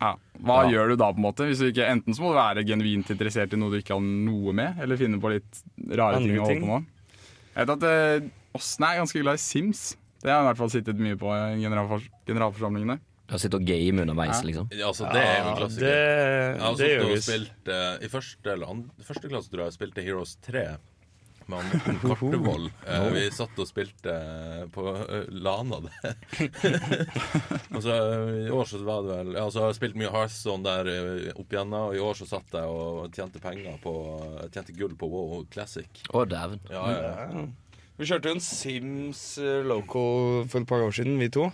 Speaker 4: Ja. Hva
Speaker 2: Ja.
Speaker 4: gjør du da, på en måte? Hvis du ikke, enten så må du være genuint interessert i noe du ikke har noe med, eller finne på litt rare
Speaker 3: Andre
Speaker 4: ting å holde
Speaker 3: ting.
Speaker 4: på med. Jeg vet at eh, Åsne er ganske glad i Sims. Det har jeg i hvert fall sittet mye på i generalfors generalforsamlingene.
Speaker 2: Å sitte og game underveis,
Speaker 4: Ja.
Speaker 2: liksom.
Speaker 1: Ja, Altså, det er jo en klassiker. altså, Jeg
Speaker 3: Det,
Speaker 1: har
Speaker 3: det
Speaker 1: sittet og
Speaker 3: gjøres.
Speaker 1: spilt eh, I første, eller andre, første klasse tror jeg jeg spilte Heroes 3 med han Morten Kartevold. Eh, vi satt og spilte eh, på eh, Lana der. og så eh, i år så var det vel Ja, så har jeg spilt mye Hearthstone der eh, opp igjennom, og i år så satt jeg og tjente penger på eh, Tjente gull på WoW Classic.
Speaker 2: Å, dæven.
Speaker 1: Ja, ja, ja.
Speaker 3: Ja. Vi kjørte jo en Sims eh, Local for et par år siden, vi to.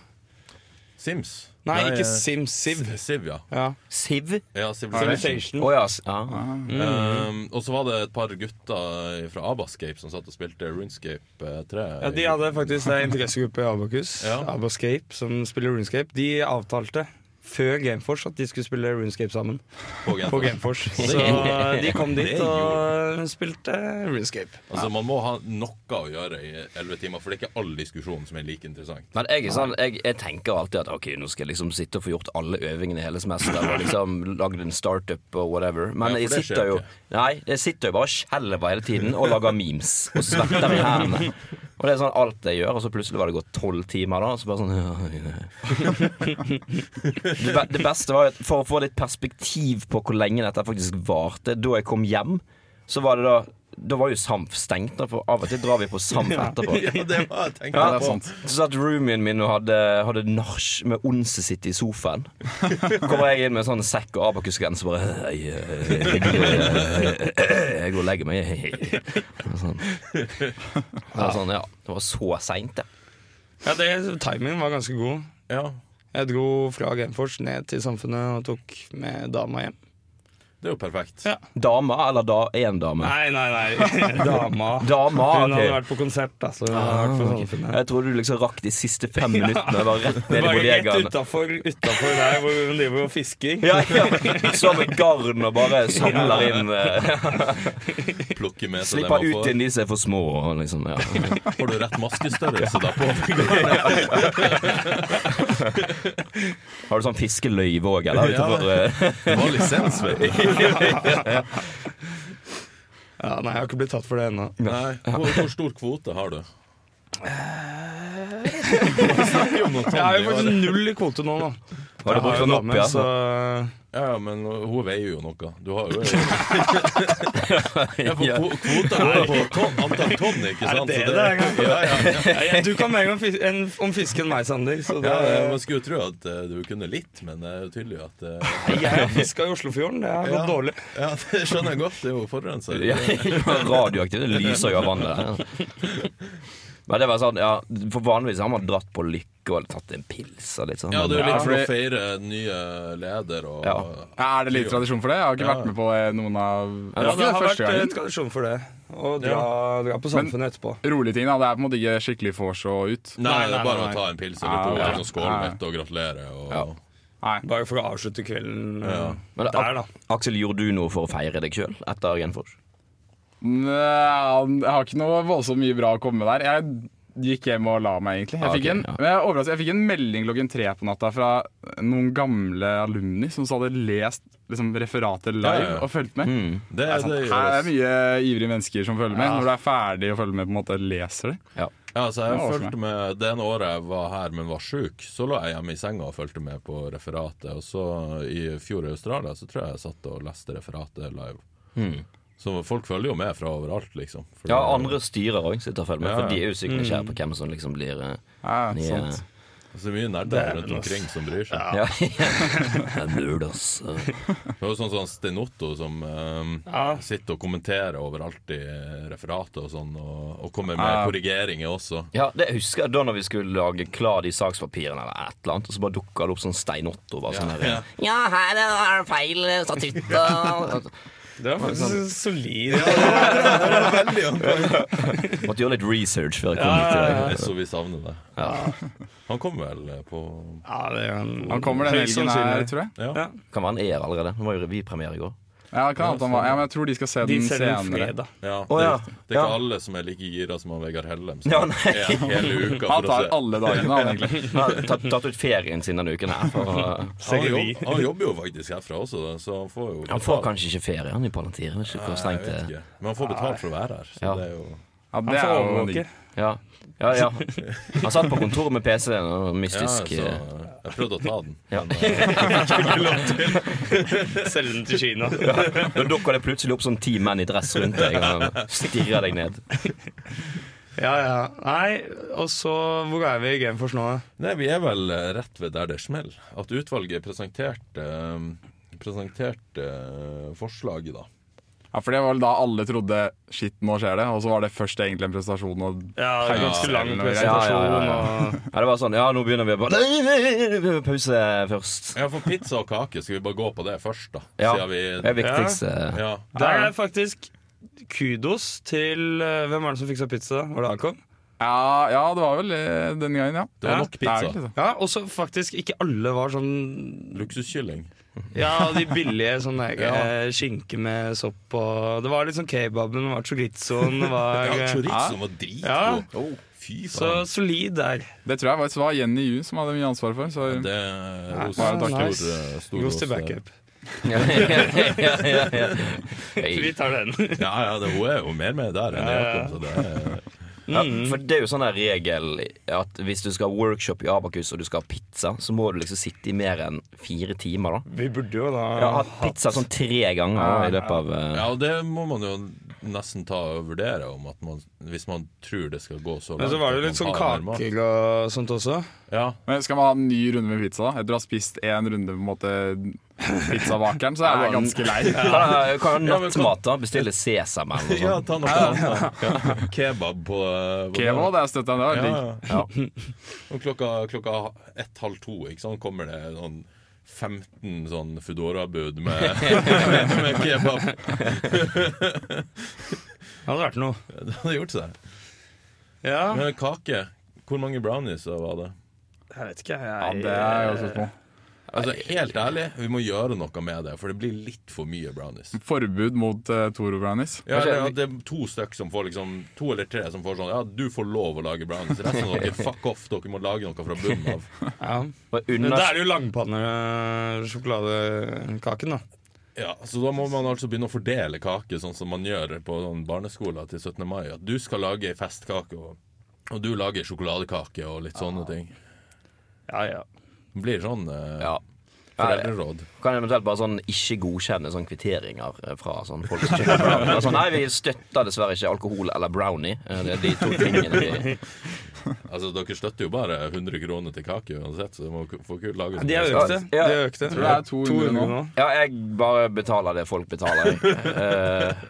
Speaker 1: Sims.
Speaker 3: Nei, ikke
Speaker 1: eh,
Speaker 3: Sims. Siv.
Speaker 1: S- Siv, ja.
Speaker 3: Ja.
Speaker 2: Siv?
Speaker 1: ja Civilization.
Speaker 3: Civilization. Mm.
Speaker 2: Å ja. s- ja.
Speaker 1: Um, og så var det et par gutter fra Abascape som satt og spilte Runescape eh, 3.
Speaker 3: Ja, de hadde faktisk det er en interessegruppe i Abakus,
Speaker 1: Ja.
Speaker 3: Abascape, som spiller Runescape. De avtalte før Gameforce at de skulle spille Runescape sammen.
Speaker 1: på Genfors.
Speaker 3: På Gameforce
Speaker 1: Det
Speaker 3: Så
Speaker 1: gjorde-
Speaker 3: de kom dit
Speaker 1: det gjorde
Speaker 3: og spilte Runescape.
Speaker 1: Altså, Man må ha noe å gjøre i elleve timer, for det er ikke all diskusjon som er like interessant.
Speaker 2: Men jeg, er sånn, jeg, jeg tenker alltid at ok, nå skal jeg liksom sitte og få gjort alle øvingene i hele semesteret og liksom lagd en startup og whatever. Men
Speaker 1: Ja, for
Speaker 2: jeg
Speaker 1: det skjer
Speaker 2: sitter jo
Speaker 1: ikke.
Speaker 2: Nei, jeg sitter jo bare og skjelver hele tiden og lager memes og svetter i hendene. Og det er sånn alt jeg gjør, og så plutselig var det gått tolv timer, da. Og så bare sånn ja, ja. Det be- Det beste var jo at for å få litt perspektiv på hvor lenge dette faktisk varte, da jeg kom hjem, så var det da Da var jo Samf stengt, da, for av og til drar vi på Samf etterpå.
Speaker 1: Ja, det var jeg tenkte
Speaker 4: Ja, det er
Speaker 1: på.
Speaker 4: sant.
Speaker 2: Så satt roomien min og hadde, hadde nach med Onse sitt i sofaen. Kommer jeg inn med sånn sekk og abakusgrense og bare jeg, jeg, jeg, jeg, jeg går og legger meg. Og Sånn. Det var sånn, ja. Det var så seint, det.
Speaker 3: Ja, det, timingen var ganske god.
Speaker 1: Ja,
Speaker 3: Jeg dro fra Gameforce ned til Samfunnet og tok med dama hjem.
Speaker 1: det er jo perfekt.
Speaker 3: Ja.
Speaker 2: Dama eller da én dame?
Speaker 3: Nei, nei, nei. Dama.
Speaker 2: Dama,
Speaker 3: Hun hadde
Speaker 2: ok.
Speaker 3: vært på konsert, da. Så hun hadde vært på samfunnet.
Speaker 2: Jeg trodde du liksom rakk de siste fem minuttene. Jeg var rett ned i
Speaker 3: Bare rett
Speaker 2: bodegaen.
Speaker 3: utafor der hvor hun driver og fisker.
Speaker 2: Ja, ja. Så med garn og bare samler inn eh,
Speaker 1: Plukke med seg det
Speaker 2: Slipper
Speaker 1: man
Speaker 2: ut
Speaker 1: får.
Speaker 2: igjen de som er for små. og Liksom, ja.
Speaker 1: Får du rett maskestørrelse da på?
Speaker 2: Har du sånn fiskeløyve òg, eller?
Speaker 1: Ja.
Speaker 2: Utenfor, eh,
Speaker 1: Det var lisens, vet du.
Speaker 3: Ja, nei, jeg har ikke blitt tatt for det ennå.
Speaker 1: Nei. Hvor, hvor stor kvote har du? Vi snakker jo om noe
Speaker 3: Jeg har
Speaker 1: tonn i året.
Speaker 3: jo faktisk null i kvote nå, da.
Speaker 2: Var det
Speaker 3: Jeg har
Speaker 2: borte
Speaker 3: jo
Speaker 2: fra altså?
Speaker 3: dame,
Speaker 2: Nopp, ja?
Speaker 3: Så
Speaker 1: Ja, ja, men hun veier jo noe. Du har jo ja, for
Speaker 2: ja.
Speaker 1: kvo- Kvota går på tonn, antall tonn, ikke sant?
Speaker 3: det
Speaker 1: Så
Speaker 3: det det er, kanskje?
Speaker 1: ja, ja, ja.
Speaker 3: Nei, du kan mer om, fis enn- om fiske enn meg, Sander. Så det,
Speaker 1: Ja, eh, Man skulle jo tro at eh, du kunne litt, men det er jo tydelig at eh,
Speaker 3: jeg har fiska i Oslofjorden. Det har
Speaker 1: Ja.
Speaker 3: gått dårlig.
Speaker 1: Ja, det skjønner jeg godt. Det er jo forurenser.
Speaker 2: Ja, Radioaktivt. Det lyser jo av vannet. der. Men det var sånn, ja, for vanligvis har man dratt på lykke og tatt en pils og litt sånn.
Speaker 1: Ja, det er jo
Speaker 2: men,
Speaker 1: litt
Speaker 4: Ja,
Speaker 1: for å
Speaker 4: fordi-
Speaker 1: feire nye leder og
Speaker 2: Ja.
Speaker 4: Ja, er det litt tradisjon for det? Jeg har ikke
Speaker 1: Ja.
Speaker 4: vært med på eh, noen av
Speaker 2: Ja,
Speaker 4: Det
Speaker 3: Ja,
Speaker 4: var
Speaker 3: det
Speaker 4: ikke
Speaker 3: har
Speaker 4: den
Speaker 3: vært
Speaker 4: første
Speaker 3: eh,
Speaker 4: gangen.
Speaker 3: tradisjon for det. Å dra, dra på Samfunnet etterpå.
Speaker 4: Rolige ting, da. Det er på en måte ikke skikkelig vors og ut.
Speaker 1: Nei, det
Speaker 3: nei,
Speaker 1: er bare
Speaker 3: nei.
Speaker 1: å ta en pils eller to
Speaker 4: Ja, ja.
Speaker 1: og skåle litt og gratulere. Og,
Speaker 2: Ja.
Speaker 4: Nei.
Speaker 3: Bare for å avslutte kvelden eh,
Speaker 1: Ja.
Speaker 2: men det-
Speaker 3: der, da.
Speaker 2: Aksel, gjorde du noe for å feire deg sjøl etter Genfors?
Speaker 4: Nei, Jeg har ikke noe voldsomt mye bra å komme med der. Jeg gikk hjem og la meg, egentlig. Jeg
Speaker 2: Ah,
Speaker 4: fikk,
Speaker 2: ok,
Speaker 4: en,
Speaker 2: ja.
Speaker 4: men jeg, er overrasket, jeg fikk en melding klokken tre på natta fra noen gamle alumni som så hadde lest liksom, referatet live
Speaker 1: Ja, ja, ja.
Speaker 4: og fulgt med.
Speaker 1: Det,
Speaker 4: Det er, sant.
Speaker 1: det
Speaker 4: sånn, Her er
Speaker 1: gjøres.
Speaker 4: mye ivrige mennesker som følger med. Når du er ferdig å følge med, på en måte leser det.
Speaker 2: Ja.
Speaker 1: Ja, så jeg
Speaker 4: Det var
Speaker 1: fulgte med Det ene året jeg var her, men var sjuk, så lå jeg hjemme i senga og fulgte med på referatet. Og så i fjor i Australia så tror jeg jeg satt og leste referatet live. Så folk følger jo med fra overalt, liksom. For
Speaker 2: ja,
Speaker 1: det-
Speaker 2: andre styrer òg sitter og følger med,
Speaker 1: Ja, Mm.
Speaker 2: for
Speaker 1: ja.
Speaker 2: de er jo sykt nysgjerrige på hvem som liksom blir eh,
Speaker 4: Ja,
Speaker 2: nye.
Speaker 4: sant.
Speaker 1: Så mye nerder
Speaker 3: Dæven,
Speaker 1: rundt
Speaker 3: ass.
Speaker 1: omkring som bryr seg.
Speaker 2: Ja. altså. Jeg nerd, ass.
Speaker 1: Det var jo sånn sånn Stenotto som eh,
Speaker 3: Ja.
Speaker 1: sitter og kommenterer overalt i referatet og sånn, og, og kommer med
Speaker 4: Ja.
Speaker 1: korrigeringer også.
Speaker 2: Ja, det husker jeg da når vi skulle lage klar de sakspapirene eller et eller annet, og så bare dukka det opp sånn Stein Otto. Bare sånn her, ja, her er det feil eh, statutter.
Speaker 3: Det var faktisk solid.
Speaker 2: Måtte gjøre litt research før jeg kom
Speaker 3: Ja, ja,
Speaker 2: hit.
Speaker 1: Jeg så vi savner det. Han kom vel eh, på
Speaker 3: Ja, det er en,
Speaker 4: Han kommer den
Speaker 3: høyst
Speaker 4: helgen her,
Speaker 3: sannsynlig.
Speaker 4: tror jeg.
Speaker 1: Ja.
Speaker 3: Ja.
Speaker 2: i Kan være en er allerede. Det var jo revypremiere i går.
Speaker 4: Ja, kan hende at han var. ja, men jeg tror de skal se
Speaker 3: De
Speaker 4: den
Speaker 3: ser den
Speaker 4: senere.
Speaker 3: fredag.
Speaker 1: Ja,
Speaker 2: Å,
Speaker 1: det,
Speaker 2: ja.
Speaker 1: det er ikke
Speaker 2: Ja.
Speaker 1: alle som er like gira som han Vegard Hellem. Som
Speaker 2: Ja, nei.
Speaker 1: er hele uka for
Speaker 4: Han
Speaker 1: å
Speaker 4: tar
Speaker 1: se.
Speaker 4: alle dagene, han egentlig.
Speaker 2: Han har tatt, tatt ut ferien sin denne uken her. For, uh,
Speaker 1: Han,
Speaker 3: Ser vi.
Speaker 1: jobb, han jobber jo faktisk herfra også, da, så han får jo
Speaker 2: han får kanskje ikke ferie, han i Palantir. Jeg vet ikke
Speaker 1: Nei,
Speaker 2: hvor
Speaker 1: jeg
Speaker 2: strengt det
Speaker 1: vet
Speaker 2: er.
Speaker 1: ikke. Men han får betalt for å være her. Så
Speaker 2: Ja.
Speaker 1: det er jo
Speaker 4: Ja,
Speaker 3: Han
Speaker 4: det
Speaker 3: får
Speaker 4: er jo
Speaker 3: overvåke.
Speaker 4: digg.
Speaker 2: Ja. ja, ja. Han satt på kontoret med PC-en og
Speaker 1: ja, så,
Speaker 2: mystisk eh,
Speaker 1: Jeg prøvde å ta den.
Speaker 2: Ja.
Speaker 1: Men, eh,
Speaker 3: Selge den til Kina.
Speaker 2: Da dukker det plutselig opp sånn ti menn i dress rundt deg og stirrer deg ned.
Speaker 3: Ja, ja. Nei, og så Hvor er vi i Gameforce nå?
Speaker 1: nei, vi er vel eh, rett ved der det smell. At utvalget presenterte eh, Presenterte eh, forslaget, da.
Speaker 4: Ja, for det var vel da alle trodde shit, nå skjer det, og så var det først egentlig en prestasjon og
Speaker 3: Ja, det er ganske lang
Speaker 2: Ja,
Speaker 3: presentasjon.
Speaker 2: ja, ja, Ja, det var sånn Ja, nå begynner vi bare Nei, nei, nei, vi må pause først.
Speaker 1: Ja, for pizza og kake, skal vi bare gå på det først, da?
Speaker 2: Ja.
Speaker 1: Siden
Speaker 2: Det er
Speaker 1: vi
Speaker 2: viktigst. eh,
Speaker 1: Ja.
Speaker 3: Og der er faktisk kudos til eh, Hvem er det som fiksa pizza? Var det Akon?
Speaker 4: Ja, ja, det var vel eh, den gangen, ja.
Speaker 1: Det var
Speaker 3: Ja,
Speaker 1: nok
Speaker 4: Det er vel
Speaker 1: pizza.
Speaker 4: ikke det.
Speaker 3: Ja, og så faktisk ikke alle var sånn
Speaker 1: Luksuskylling.
Speaker 3: Ja, de billige sånn der,
Speaker 1: Ja.
Speaker 3: eh, skinke med sopp og Det var litt sånn kebaben, det var chorizoen, det var
Speaker 1: Ja,
Speaker 3: eh,
Speaker 1: chorizoen var
Speaker 3: Ja.
Speaker 1: dritgod. Å, Fy
Speaker 3: Så
Speaker 1: faen.
Speaker 3: solid der.
Speaker 4: Det tror jeg faktisk var Jenny Yu som hadde mye ansvar for. Så
Speaker 1: Det
Speaker 3: Nei,
Speaker 1: er
Speaker 4: bare
Speaker 1: stor,
Speaker 4: takk.
Speaker 1: eh, stor
Speaker 3: Goes til
Speaker 1: ros, eh.
Speaker 3: backup.
Speaker 2: ja, ja, ja, ja.
Speaker 3: Vi
Speaker 2: Hey.
Speaker 3: tar den.
Speaker 1: Ja, ja, det, hun er jo mer med der enn jeg kom, så det er
Speaker 2: Ja, for det er jo sånn der regel at hvis du skal ha workshop i Abakus og du skal ha pizza, så må du liksom sitte i mer enn fire timer, da.
Speaker 3: Vi burde jo da
Speaker 2: Jeg har hatt pizza sånn tre ganger da, i løpet av eh,
Speaker 1: Ja, og det må man jo nesten ta og vurdere om at man, hvis man tror det skal gå så langt.
Speaker 3: Men så var
Speaker 1: at
Speaker 3: det jo litt
Speaker 1: man
Speaker 3: sånn
Speaker 1: tar mer mat.
Speaker 3: kaker og sånt også.
Speaker 1: Ja,
Speaker 4: Men skal man ha en ny runde med pizza, da? Etter å ha spist én runde på en måte pizzabakeren, så er jeg ganske lei.
Speaker 2: Kan jeg ha
Speaker 1: men
Speaker 2: nattmat, da? Bestille sesam eller
Speaker 1: sånn. ja
Speaker 2: noe sånt.
Speaker 1: ta noe annet. Ja. Kebab på, eh, på
Speaker 4: Kevo, det er støtta. Det var
Speaker 1: Ja,
Speaker 4: digg.
Speaker 1: ja. Og klokka, klokka ett-halv to ikke sant, kommer det sånn 15 sånn Foodora-bud med, med kebab.
Speaker 3: Det hadde vært noe.
Speaker 1: Det hadde gjort seg.
Speaker 3: Ja,
Speaker 1: Men kake Hvor mange brownies var det?
Speaker 3: jeg vet ikke.
Speaker 4: Ja,
Speaker 3: Jeg,
Speaker 4: det er jo også små.
Speaker 1: Altså, Helt ærlig, vi må gjøre noe med det, for det blir litt for mye brownies.
Speaker 4: Forbud mot eh, Toro brownies.
Speaker 1: Ja, eller at det er to stykk som får liksom To eller tre som får sånn Ja, du får lov å lage brownies. Resten av dere, fuck off. Dere må lage noe fra bunnen av.
Speaker 3: ja.
Speaker 2: Bare
Speaker 3: Men
Speaker 2: Unna
Speaker 3: da er det jo langpannesjokoladekaken, da.
Speaker 1: Ja, Så da må man altså begynne å fordele kake, sånn som man gjør på sånn barneskoler til 17. mai. At du skal lage ei festkake, og, og du lager sjokoladekake og litt sånne ting.
Speaker 3: Ja, ja.
Speaker 1: Det blir sånn eh,
Speaker 2: ja.
Speaker 1: foreldreråd.
Speaker 2: Kan jeg eventuelt bare sånn ikke godkjenne sånn kvitteringer eh, fra sånn folk som kjøper brownie. Bare Sånn, nei, vi støtter dessverre ikke alkohol eller brownie. Eh, Det er de to tingene vi
Speaker 1: Altså, Dere støtter jo bare 100 kroner til kake uansett, så dere må k- få lage sånn.
Speaker 3: De er økte.
Speaker 2: Ja.
Speaker 3: De er økte.
Speaker 4: Tror det er 200 nå.
Speaker 2: Ja, jeg bare betaler det folk betaler. Eh,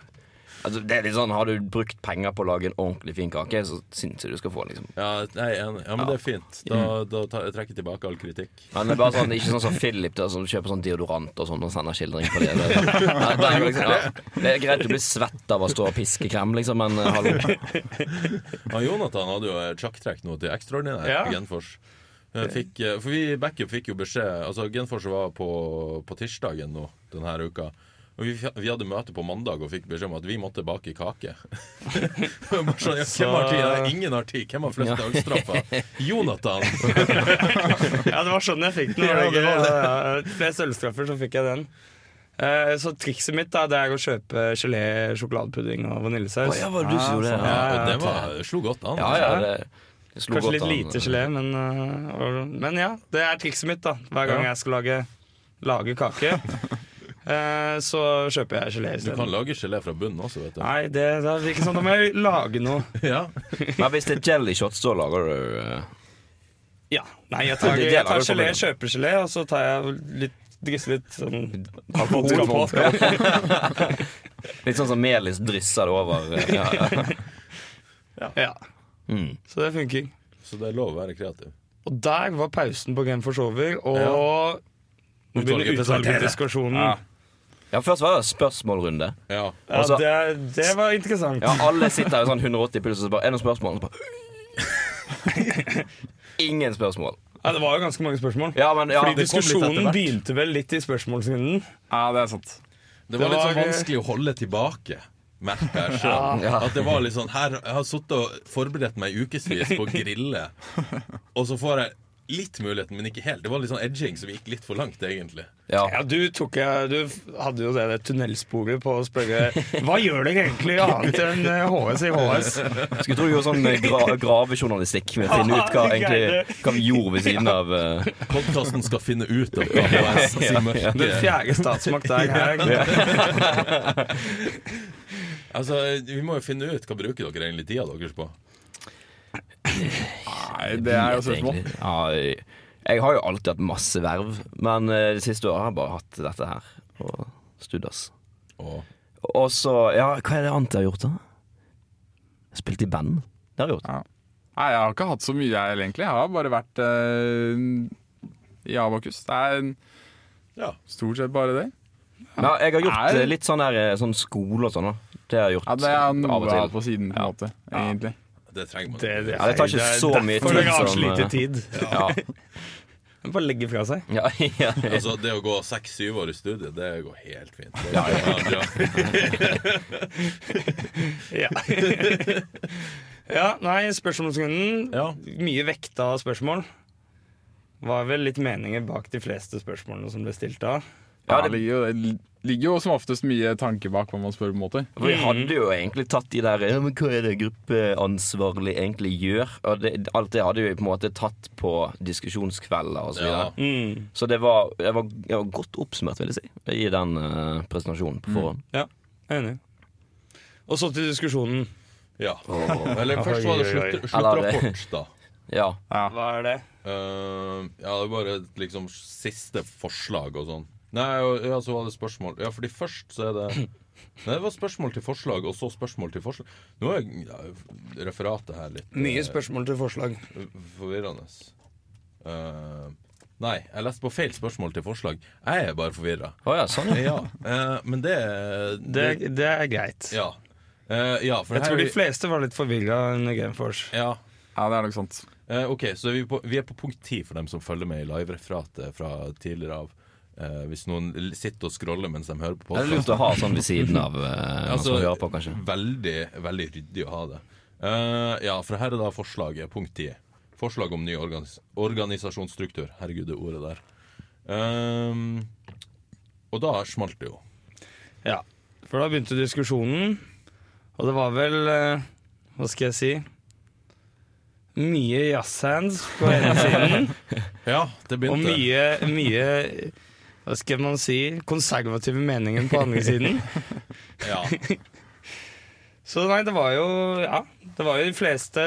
Speaker 2: altså, det er litt sånn, Har du brukt penger på å lage en ordentlig fin kake, så syns jeg du skal få, liksom.
Speaker 1: Ja, nei, enig. ja, men det er fint. Da, da tar, jeg trekker jeg tilbake all kritikk.
Speaker 2: Men det er bare sånn, ikke sånn som Philip der, som kjøper sånn deodorant og sånn og sender skildring på det. Det, Nei, det, er, liksom, ja. det er greit du blir svett av å stå og piske krem, liksom, men eh, hallo.
Speaker 1: Ja, Jonathan hadde jo et sjakktrekk nå til ekstraordinær
Speaker 3: Ja.
Speaker 1: på Genfors. Eh, Fikk, eh, for vi i backup fikk jo beskjed Altså Genfors var på, på tirsdagen nå denne her uka. Og vi, f- vi hadde møte på mandag og fikk beskjed om at vi måtte bake kake. Bare sånn, ja, hvem har tid? Nei, Ingen har tid. Hvem har flest dagsstraffer? Jonathan!
Speaker 3: Ja, det var sånn jeg fikk den. var det ikke? Ja, ja. Flest ølstraffer, så fikk jeg den. Eh, Så trikset mitt da, det er å kjøpe gelé, sjokoladepudding og
Speaker 2: Å,
Speaker 3: vaniljesaus.
Speaker 2: ja, var det du som gjorde det?
Speaker 1: Ah, Ja, og det var, slo godt an.
Speaker 2: Ja, ja, det, det slo
Speaker 3: Kanskje
Speaker 2: godt
Speaker 3: litt
Speaker 2: an.
Speaker 3: lite gelé, men, eh, og- men ja. Det er trikset mitt, da. Hver gang jeg skal lage, lage kake, eh, så kjøper jeg gelé
Speaker 1: Du kan
Speaker 3: isteden.
Speaker 1: lage gelé fra bunnen også, vet du.
Speaker 3: Nei, det, det er ikke sånn. Da må jeg lage noe.
Speaker 1: Ja.
Speaker 2: Men hvis det er jelly shots, da lager du eh,
Speaker 3: Ja. Nei, jeg tar,
Speaker 2: Det- det er
Speaker 3: jeg tar
Speaker 2: vel
Speaker 3: gelé,
Speaker 2: problemet.
Speaker 3: kjøper gelé, og så tar jeg litt drysser litt sånn
Speaker 4: Vodka
Speaker 3: alkohol på.
Speaker 4: vodka.
Speaker 2: Litt sånn som melis drysser det over. eh, Ja, ja.
Speaker 3: Ja,
Speaker 2: Mm.
Speaker 3: så det funker.
Speaker 1: Så det er lov å være kreativ.
Speaker 3: Og der var pausen på Game for Sover, og nå
Speaker 1: Utvalget
Speaker 3: begynner
Speaker 1: presenterer.
Speaker 3: utvalgsdiskusjonen. Ja.
Speaker 4: Ja.
Speaker 2: ja, først var det spørsmålrunde.
Speaker 1: Ja.
Speaker 2: Altså-
Speaker 3: det, det var interessant.
Speaker 2: Ja, alle sitter jo sånn 180 puls og så bare Er det noen spørsmål? Og så bare Ingen spørsmål.
Speaker 3: Ja, det var jo ganske mange spørsmål.
Speaker 2: Ja, men ja,
Speaker 3: Fordi
Speaker 2: det kom litt etter
Speaker 3: diskusjonen
Speaker 2: hvert.
Speaker 3: begynte vel litt i spørsmålsrunden.
Speaker 4: Ja, det er sant.
Speaker 1: Det var litt sånn
Speaker 3: var, eh,
Speaker 1: vanskelig å holde tilbake, merker jeg sjøl.
Speaker 2: Ja.
Speaker 1: At det var litt sånn her, Jeg har sittet og forberedt meg i ukevis på å grille, og så får jeg litt muligheten, men ikke helt. Det var litt sånn edging som gikk litt for langt, egentlig.
Speaker 2: Ja.
Speaker 3: Ja, du, tok, eh, du f- hadde jo det, det tunnelsporet på å spørre Hva gjør dere egentlig annet enn eh, HS i HS?
Speaker 2: Skulle tro vi gjorde sånn eh, gra gravejournalistikk med å finne ut hva,
Speaker 3: Ah, det er greit,
Speaker 2: egentlig, hva vi gjorde ved siden av eh,
Speaker 1: Podkasten skal finne ut av hva HVS sin
Speaker 3: Den
Speaker 1: mørke
Speaker 3: fjerde statsmakt er her.
Speaker 1: Altså, Vi må jo finne ut hva bruker dere egentlig tida deres på.
Speaker 4: Nei, det er jo
Speaker 2: vet jeg
Speaker 4: spørsmål.
Speaker 2: egentlig. Ja, jeg har jo alltid hatt masse verv, men eh, det siste året har jeg bare hatt dette her og studas.
Speaker 1: Og
Speaker 2: Og så Ja, hva er det annet jeg har gjort, da? Spilt i band. Det har jeg gjort.
Speaker 4: Nei, jeg har ikke hatt så mye, jeg, egentlig. Jeg har bare vært eh, i Abakus. Det er
Speaker 1: ja.
Speaker 4: stort sett bare det.
Speaker 2: Ja, jeg har gjort
Speaker 4: Er-
Speaker 2: eh, litt sånn, der, eh, sånn skole og sånn, da. Det har jeg gjort
Speaker 4: Ja, det er noe
Speaker 2: av og
Speaker 4: jeg har
Speaker 2: til.
Speaker 4: på siden, på en måte. Egentlig.
Speaker 1: Det trenger man.
Speaker 3: Det, det,
Speaker 2: Ja, det tar ikke så mye
Speaker 3: tid.
Speaker 2: tid
Speaker 3: Derfor
Speaker 2: som,
Speaker 3: dere
Speaker 2: eh,
Speaker 3: har så lite tid.
Speaker 2: Ja.
Speaker 3: Bare legge fra seg.
Speaker 2: Ja, ja, ja.
Speaker 1: Altså, det å gå seks-syv år i studiet, det går helt fint. Det går bra, bra.
Speaker 3: Ja, ja nei, spørsmålsrunden.
Speaker 1: Ja.
Speaker 3: Mye vekta spørsmål. Var vel litt meninger bak de fleste spørsmålene som ble stilt da.
Speaker 4: Ja,
Speaker 2: Ja,
Speaker 4: det ligger jo, det ligger jo som oftest mye tanke bak hva man spør, på en måte.
Speaker 2: For vi hadde jo egentlig tatt de der ja, men Hva er det gruppeansvarlig egentlig gjør? Og det, alt det hadde vi på en måte tatt på diskusjonskvelder og så videre.
Speaker 1: Ja.
Speaker 2: Så det var, jeg var, jeg var godt oppsummert, vil jeg si, i den eh, presentasjonen på forhånd.
Speaker 3: Ja, jeg er enig. Og så til diskusjonen.
Speaker 1: ja. Eller først var det
Speaker 3: Oi, oi, oi.
Speaker 1: slutt, sluttrapport, da.
Speaker 2: Ja.
Speaker 4: Ja.
Speaker 3: Hva er det?
Speaker 1: Eh, ja, det var bare et, liksom siste forslag og sånn. Nei, og- ja, så var det spørsmål. Ja, fordi først så er det Nei, det var spørsmål til forslag, og så spørsmål til forslag. Nå er ja, referatet her litt eh,
Speaker 3: Mye spørsmål til forslag.
Speaker 1: forvirrende. Eh, nei, jeg leste på feil spørsmål til forslag. Jeg er bare forvirra.
Speaker 2: Å ja, sånn, ja.
Speaker 1: Ja, eh, men det,
Speaker 3: Det, det er greit.
Speaker 1: Ja. Eh, ja, for
Speaker 3: Jeg
Speaker 1: her
Speaker 3: tror
Speaker 1: er
Speaker 3: de
Speaker 1: vi-
Speaker 3: fleste var litt forvirra under Gameforce.
Speaker 1: Ja.
Speaker 4: ja, det er nok sant.
Speaker 1: Eh, ok, så er vi, på, vi er på punkt 10 for dem som følger med i livereferatet fra tidligere av. Eh, hvis noen l- sitter og scroller mens de hører på
Speaker 2: Det er
Speaker 1: podkast.
Speaker 2: lurt å ha sånn ved siden av uh, altså, man hører på, kanskje.
Speaker 1: veldig, veldig ryddig å ha det. Eh, ja, for her er da forslaget, punkt 10. Forslag om ny organis organisasjonsstruktur. Herregud, det ordet der. Ehm, og da smalt det jo.
Speaker 3: Ja. For da begynte diskusjonen, og det var vel eh, Hva skal jeg si? Mye jazzhands på ene siden,
Speaker 1: Ja, det
Speaker 3: og
Speaker 1: begynte.
Speaker 3: mye, mye Hva skal man si? Konservative meninger på andre siden.
Speaker 1: Ja.
Speaker 3: Så nei, det var jo Ja. Det var jo de fleste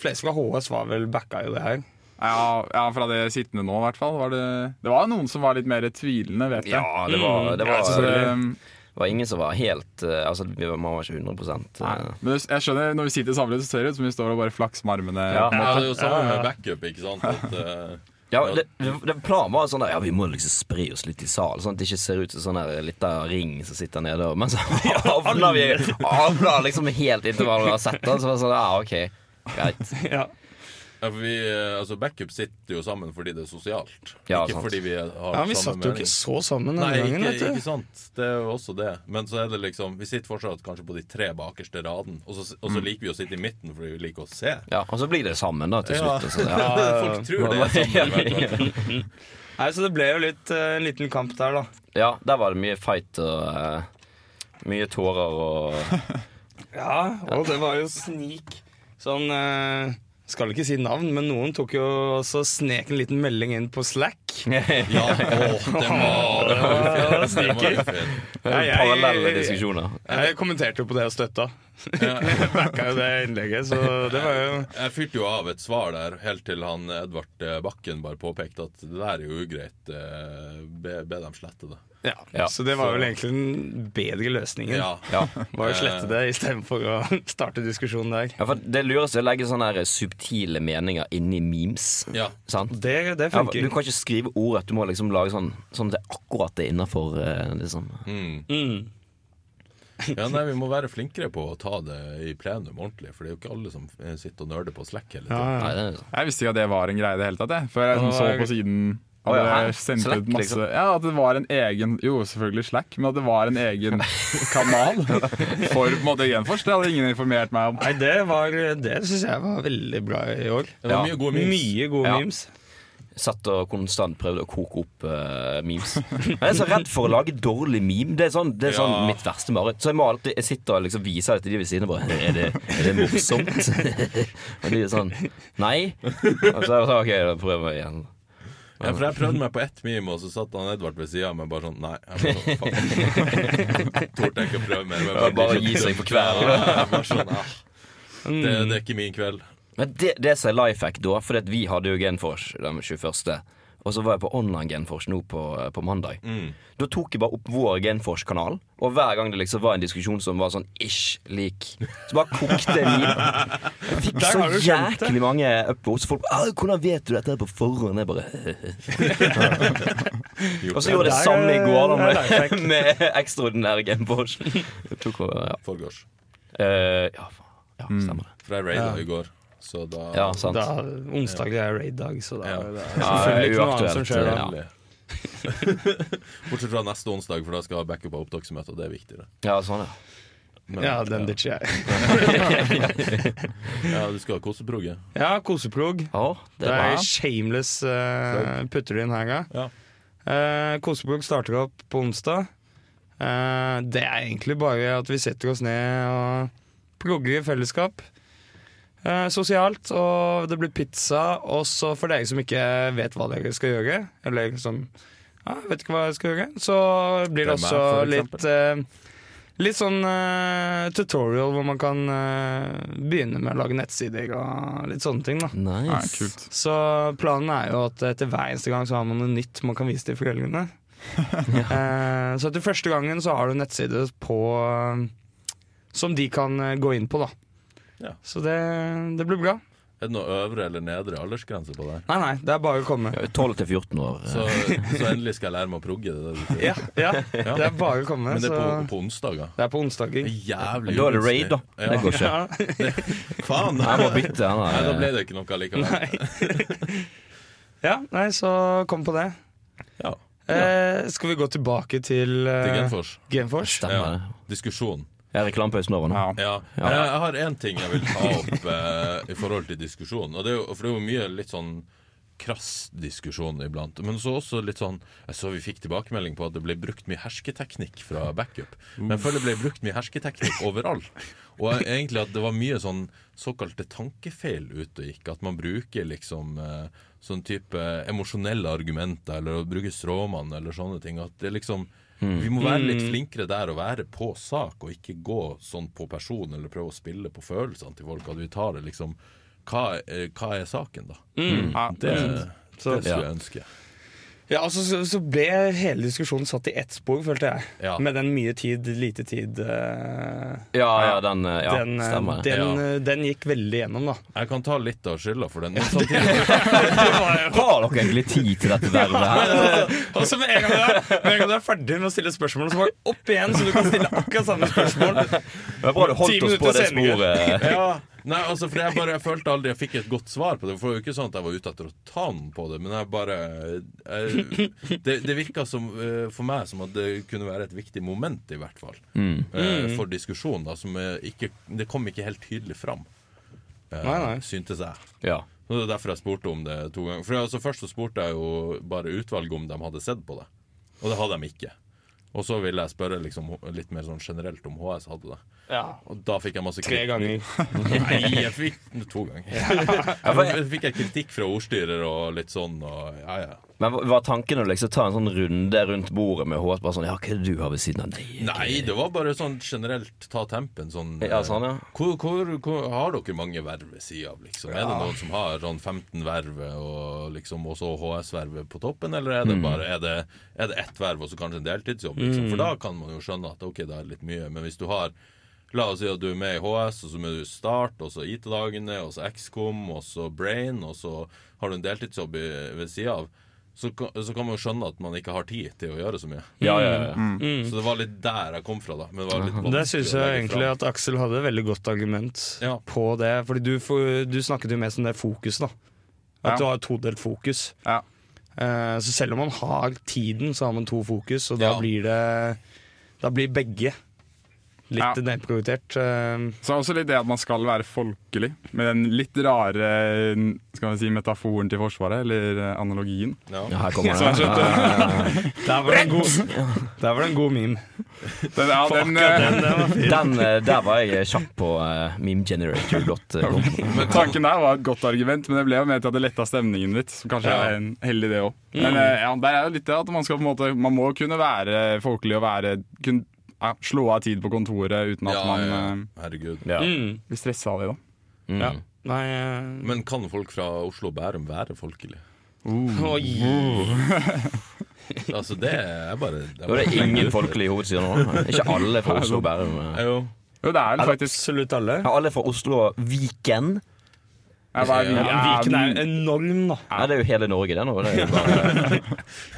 Speaker 3: fleste fra HS var vel backa jo det her.
Speaker 4: Ja, ja, fra det sittende nå, i hvert fall. Var det, det var noen som var litt mer tvilende, vet jeg.
Speaker 2: Ja, det var, det var,
Speaker 4: Så, um,
Speaker 2: det var ingen som var helt eh, Altså, vi var, man var ikke 100
Speaker 4: nei.
Speaker 2: eh,
Speaker 4: Men jeg skjønner, når vi sitter samlet, så ser det ut som vi står og bare flakser med armene.
Speaker 2: Ja.
Speaker 1: ja, det
Speaker 4: på en
Speaker 1: er
Speaker 4: måte.
Speaker 1: jo samme med backup, ikke sant? At, eh,
Speaker 2: Ja, det, det, det Planen var sånn der, ja, vi må liksom spre oss litt i salen, sånn at det ikke ser ut som sånn der lita ring som sitter nede. og- Men så havna vi havna liksom helt inntil hverandre og sett den, så var det sånn ja, OK, greit.
Speaker 3: Ja.
Speaker 1: Ja, for vi, eh, altså Backup sitter jo sammen fordi det er sosialt.
Speaker 2: Ja,
Speaker 1: ikke
Speaker 2: sant.
Speaker 1: fordi vi har
Speaker 3: Ja,
Speaker 1: samme
Speaker 3: Vi satt jo ikke
Speaker 1: mening.
Speaker 3: så sammen
Speaker 1: Nei,
Speaker 3: denne gangen.
Speaker 1: ikke,
Speaker 3: vet
Speaker 1: ikke
Speaker 3: du.
Speaker 1: sant. Det er jo også det. Men så er det liksom Vi sitter fortsatt kanskje på de tre bakerste raden, og så, og så liker vi å sitte i midten fordi vi liker å se.
Speaker 2: Mm. Ja, Og så blir det sammen, da, til slutt. og sånn, ja.
Speaker 1: Folk tror det er sammen. i hvert fall.
Speaker 3: Nei, Så det ble jo litt eh, en liten kamp der, da.
Speaker 2: Ja, der var det mye fight og eh, mye tårer og
Speaker 3: Ja, og det var jo snik. Sånn eh, Skal ikke si navn, men noen tok jo også snek en liten melding inn på Slack. Vik.
Speaker 1: Ja, å, det var Det var ufint. Det var ufint.
Speaker 3: Ja, jeg-
Speaker 2: Parallelle diskusjoner.
Speaker 3: Jeg kommenterte jo på det og støtta. Jeg backa jo det innlegget, så det var jo
Speaker 1: Jeg fyrte jo av et svar der, helt til han Edvard eh, Bakken bare påpekte at det der er jo ugreit. eh, Be, be dem slette det.
Speaker 3: Ja.
Speaker 2: Ja,
Speaker 3: Så det var vel egentlig den bedre løsningen.
Speaker 1: Ja.
Speaker 2: Ja.
Speaker 3: Var å slette det istedenfor å starte diskusjonen der.
Speaker 2: Ja, for det lureste er å legge sånne her subtile meninger inni memes.
Speaker 1: ja.
Speaker 2: Sant?
Speaker 3: Det, det
Speaker 2: Ja, for
Speaker 3: funker.
Speaker 2: du kan ikke skrive ordrett, du må liksom lage sånn sånn at det er akkurat det innafor. Liksom.
Speaker 1: Mm.
Speaker 3: Mm.
Speaker 1: ja, nei, vi må være flinkere på å ta det i plenum ordentlig, for det er jo ikke alle som eh, sitter og nerder på Slack hele tiden.
Speaker 2: Nei, det er liksom-
Speaker 4: Jeg visste ikke at det var en greie i det hele tatt, jeg. Før jeg sånn så på siden
Speaker 2: Å,
Speaker 4: at
Speaker 2: ja, hæ?
Speaker 4: jeg sendte
Speaker 2: Slack,
Speaker 4: ut masse
Speaker 2: liksom?
Speaker 4: Ja, at det var en egen Jo, selvfølgelig Slack, men at det var en egen kanal for på en måte Genfors. Det hadde ingen informert meg om.
Speaker 3: Nei, det, var- det syns jeg var veldig bra i år.
Speaker 1: Det var
Speaker 2: Ja.
Speaker 1: mye gode memes.
Speaker 3: Mye gode
Speaker 2: Ja.
Speaker 3: memes.
Speaker 2: Satt og konstant prøvde å koke opp eh, memes. Jeg er så redd for å lage dårlig meme. Det er sånn, det er sånn
Speaker 1: Ja.
Speaker 2: mitt verste mareritt. Så jeg må alltid jeg sitter og liksom viser det til de ved siden av. bare, Er det, er det morsomt? og de er sånn Nei. Og så er jeg sånn, OK, da prøver jeg igjen.
Speaker 1: Ja, for jeg prøvde meg på ett meme, og så satt han Edvard ved sida av meg bare sånn Nei, jeg må faen. Torde jeg ikke å prøve mer. men
Speaker 2: Ja, bare gi seg for kvelden.
Speaker 1: Ja, jeg var sånn, ah, det, det er ikke min kveld.
Speaker 2: Men det, det som er life hack da, for vi hadde jo Genfors den 21. Og så var jeg på online Genfors nå på, eh, på mandag.
Speaker 3: Mm.
Speaker 2: Da tok jeg bare opp vår Genfors-kanal, og hver gang det liksom var en diskusjon som var sånn ish lik, så bare kokte jeg min. Jeg fikk
Speaker 3: Der
Speaker 2: så
Speaker 3: har du skjønt det.
Speaker 2: jæklig mange upvotes. Folk bare «Au, 'Hvordan vet du dette her på forhånd?' Jeg bare Og så gjorde jeg det
Speaker 3: Der
Speaker 2: samme i går da,
Speaker 3: er life hack.
Speaker 2: med, med ekstraordinær Genfors. Jeg tok over, ja.
Speaker 1: Forgårs.
Speaker 2: Eh, ja, faen. ja,
Speaker 3: Mm.
Speaker 2: stemmer det.
Speaker 1: For jeg raida i går, så da
Speaker 2: Ja, sant.
Speaker 3: Da, onsdag er raid-dag, så da
Speaker 1: Ja.
Speaker 3: er det
Speaker 2: Ja,
Speaker 3: selvfølgelig ikke noe annet
Speaker 2: uaktuelt,
Speaker 3: som skjer da.
Speaker 2: ja.
Speaker 1: Endelig. Bortsett fra neste onsdag, for da skal jeg ha backup av opptaksmøte, og det er viktigere.
Speaker 2: Ja, sånn, ja.
Speaker 1: Men,
Speaker 3: Ja, den ditcher jeg.
Speaker 1: ja, du skal ha koseproge.
Speaker 3: Ja, koseplog.
Speaker 2: Å, det
Speaker 3: Det
Speaker 2: var
Speaker 3: er shameless eh, putter du inn her, gang.
Speaker 1: Ja.
Speaker 3: Eh, Koseplugg starter opp på onsdag. Eh, det er egentlig bare at vi setter oss ned og plugger i fellesskap. Eh, sosialt, og det blir pizza. Og så for dere som ikke vet hva dere skal gjøre, eller som ja, vet ikke hva dere skal gjøre, så blir
Speaker 1: Hvem er,
Speaker 3: det også
Speaker 1: for
Speaker 3: litt eh, Litt sånn eh, tutorial hvor man kan eh, begynne med å lage nettsider og litt sånne ting. da
Speaker 2: Nice.
Speaker 4: Ja, kult.
Speaker 3: så planen er jo at etter hver eneste gang så har man noe nytt man kan vise til foreldrene. Eh, så etter første gangen så har du en nettside på eh, Som de kan eh, gå inn på, da.
Speaker 1: Ja.
Speaker 3: Så det, det blir bra.
Speaker 1: Er det noe øvre eller nedre aldersgrense på det her?
Speaker 3: Nei, nei, det er bare å komme.
Speaker 2: 12 til 14 år.
Speaker 1: Så, så endelig skal jeg lære meg å progge. Det, er det du sier.
Speaker 3: Ja, ja, det er bare å komme.
Speaker 1: Men det er på,
Speaker 3: så
Speaker 1: på onsdager.
Speaker 3: det er på
Speaker 1: Det
Speaker 3: onsdager.
Speaker 1: er Jævlig
Speaker 2: Men da er det
Speaker 1: ugunstig.
Speaker 2: raid, da. Det går ikke.
Speaker 3: Ja.
Speaker 1: Ja, faen!
Speaker 2: Jeg må bytte den
Speaker 1: Nei, da ble
Speaker 2: der.
Speaker 1: det ikke noe likevel.
Speaker 3: ja, nei, så kom på det.
Speaker 1: Ja,
Speaker 3: Eh, skal vi gå tilbake til
Speaker 1: til
Speaker 3: eh,
Speaker 1: Genfors.
Speaker 3: Genfors?
Speaker 2: Stemmer det.
Speaker 1: Diskusjon.
Speaker 2: Jeg er reklamepausen over nå.
Speaker 4: Ja.
Speaker 1: Ja. Jeg, jeg har én ting jeg vil ta opp eh, i forhold til diskusjon. Og det er jo, for det er jo mye litt sånn krass diskusjon iblant. Men så også litt sånn Jeg så vi fikk tilbakemelding på at det ble brukt mye hersketeknikk fra backup. Men jeg føler det ble brukt mye hersketeknikk overalt. Og jeg- egentlig at det var mye sånn såkalte tankefeil ute og gikk. At man bruker liksom eh, sånn type emosjonelle argumenter, eller å bruke stråmann eller sånne ting. At det liksom Vi må være litt flinkere der og være på sak, og ikke gå sånn på person eller prøve å spille på følelsene til folk. At vi tar det liksom Hva, eh, hva er saken, da?
Speaker 4: Ja.
Speaker 1: Det, det
Speaker 3: Mm. Så-
Speaker 1: skulle jeg ønske.
Speaker 3: Ja, altså så, så ble hele diskusjonen satt i ett spor, følte jeg.
Speaker 1: Ja.
Speaker 3: Med den mye tid, lite tid eh,
Speaker 2: Ja, ja, den eh, Ja,
Speaker 3: den, eh,
Speaker 2: stemmer det.
Speaker 3: den,
Speaker 1: Ja.
Speaker 3: eh, den gikk veldig gjennom, da.
Speaker 1: Jeg kan ta litt av skylda for den. Men samtidig,
Speaker 2: Har dere egentlig tid til dette vervet her?
Speaker 3: Og så med en, gang du er, med en gang du er ferdig med å stille spørsmål, så bare opp igjen, så du kan stille akkurat samme spørsmål.
Speaker 2: Det var bra du
Speaker 3: Ti
Speaker 2: holdt oss på
Speaker 3: minutter
Speaker 2: det
Speaker 3: senere.
Speaker 2: sporet.
Speaker 1: ja, nei, altså, for jeg bare jeg følte aldri jeg fikk et godt svar på det. For det var jo ikke sånn at jeg var ute etter å ta den på det, men jeg bare jeg, Det, det virka som, eh, for meg som at det kunne være et viktig moment, i hvert fall,
Speaker 3: Mm.
Speaker 1: eh, for diskusjonen, da, som eh, ikke Det kom ikke helt tydelig fram, eh,
Speaker 3: Nei, nei.
Speaker 1: syntes jeg.
Speaker 2: Ja.
Speaker 1: Og Det er derfor jeg spurte om det to ganger. For altså, Først så spurte jeg jo bare utvalget om de hadde sett på det, og det hadde de ikke. Og så ville jeg spørre liksom, litt mer sånn generelt om HS hadde det.
Speaker 3: Ja,
Speaker 1: Og da fikk jeg masse
Speaker 3: Tre
Speaker 1: kritikk.
Speaker 3: ganger.
Speaker 1: Nei, jeg fikk to ganger. Jeg fikk jeg kritikk fra ordstyrer og litt sånn, og ja ja.
Speaker 2: Men hva- var tanken å liksom ta en sånn runde rundt bordet med H? Bare sånn, ja, hva er det du har ved siden av? Nei,
Speaker 1: Nei, det var bare sånn generelt ta tempen. Sånn,
Speaker 2: Ja, sånn, ja.
Speaker 1: Hvor, hvor, hvor har dere mange verv ved sida av, liksom? Er det noen som har sånn 15 verv og liksom også HS-vervet på toppen, eller er det bare er det, er det ett verv og så kanskje en deltidsjobb? Liksom? For da kan man jo skjønne at ok, det er litt mye, men hvis du har La oss si at du er med i HS, og så må du starte, og så IT-dagene, og så XCOM, og så Brain, og så har du en deltidsjobb i, ved sida av, så, kan- så kan man jo skjønne at man ikke har tid til å gjøre så mye. Mm.
Speaker 2: Ja, ja, ja.
Speaker 1: Så det var litt der jeg kom fra, da. Men det var litt
Speaker 3: Der
Speaker 1: vanskelig
Speaker 3: syns
Speaker 1: å
Speaker 3: jeg
Speaker 1: legge
Speaker 3: egentlig
Speaker 1: fram.
Speaker 3: at Aksel hadde et veldig godt argument
Speaker 1: Ja.
Speaker 3: på det. Fordi du, får- du snakket jo mest om det fokuset, da. At
Speaker 4: Ja.
Speaker 3: du har et todelt fokus.
Speaker 4: Ja.
Speaker 3: Eh, Så selv om man har tiden, så har man to fokus, og da
Speaker 1: Ja.
Speaker 3: blir det Da blir begge litt
Speaker 4: Ja.
Speaker 3: nedprioritert. Eh,
Speaker 4: Så er det også litt det at man skal være folkelig, med den litt rare skal vi si, metaforen til Forsvaret, eller eh, analogien.
Speaker 2: ja
Speaker 1: Ja.
Speaker 2: her kommer det. Ja, ja, ja.
Speaker 3: Der var det en god, der var det en god meme.
Speaker 4: Den, ja, den, eh,
Speaker 2: Den, eh, der var jeg kjapp på eh, memegenerator.com.
Speaker 4: tanken der var et godt argument, men det ble jo mer til at det letta stemningen litt. Som kanskje
Speaker 1: Ja. Mm.
Speaker 4: er en heldig, det òg. Men eh, ja, der er jo litt det at man skal på en måte Man må kunne være folkelig og være kun, ja, slå av tid på kontoret uten at
Speaker 1: Ja,
Speaker 4: man
Speaker 1: ja,
Speaker 4: eh,
Speaker 1: herregud.
Speaker 2: Ja.
Speaker 3: Mm.
Speaker 4: blir stressa av det, da.
Speaker 3: Ja.
Speaker 2: Mm.
Speaker 3: Nei eh,
Speaker 1: Men kan folk fra Oslo og Bærum være folkelige?
Speaker 3: Oi.
Speaker 1: Altså, det er bare det
Speaker 2: Jo, det er ingen folkelige hovedstyrer nå. Ikke alle fra Oslo og Bærum. eh.
Speaker 1: Jo.
Speaker 4: Jo, det er det faktisk.
Speaker 3: Absolutt alle.
Speaker 2: Ja, alle fra Oslo og Viken.
Speaker 4: Ja, hva er,
Speaker 1: Ja,
Speaker 3: Ja, Viken er jo enorm, da.
Speaker 2: Nei, det er jo hele Norge, det nå. Det er jo bare,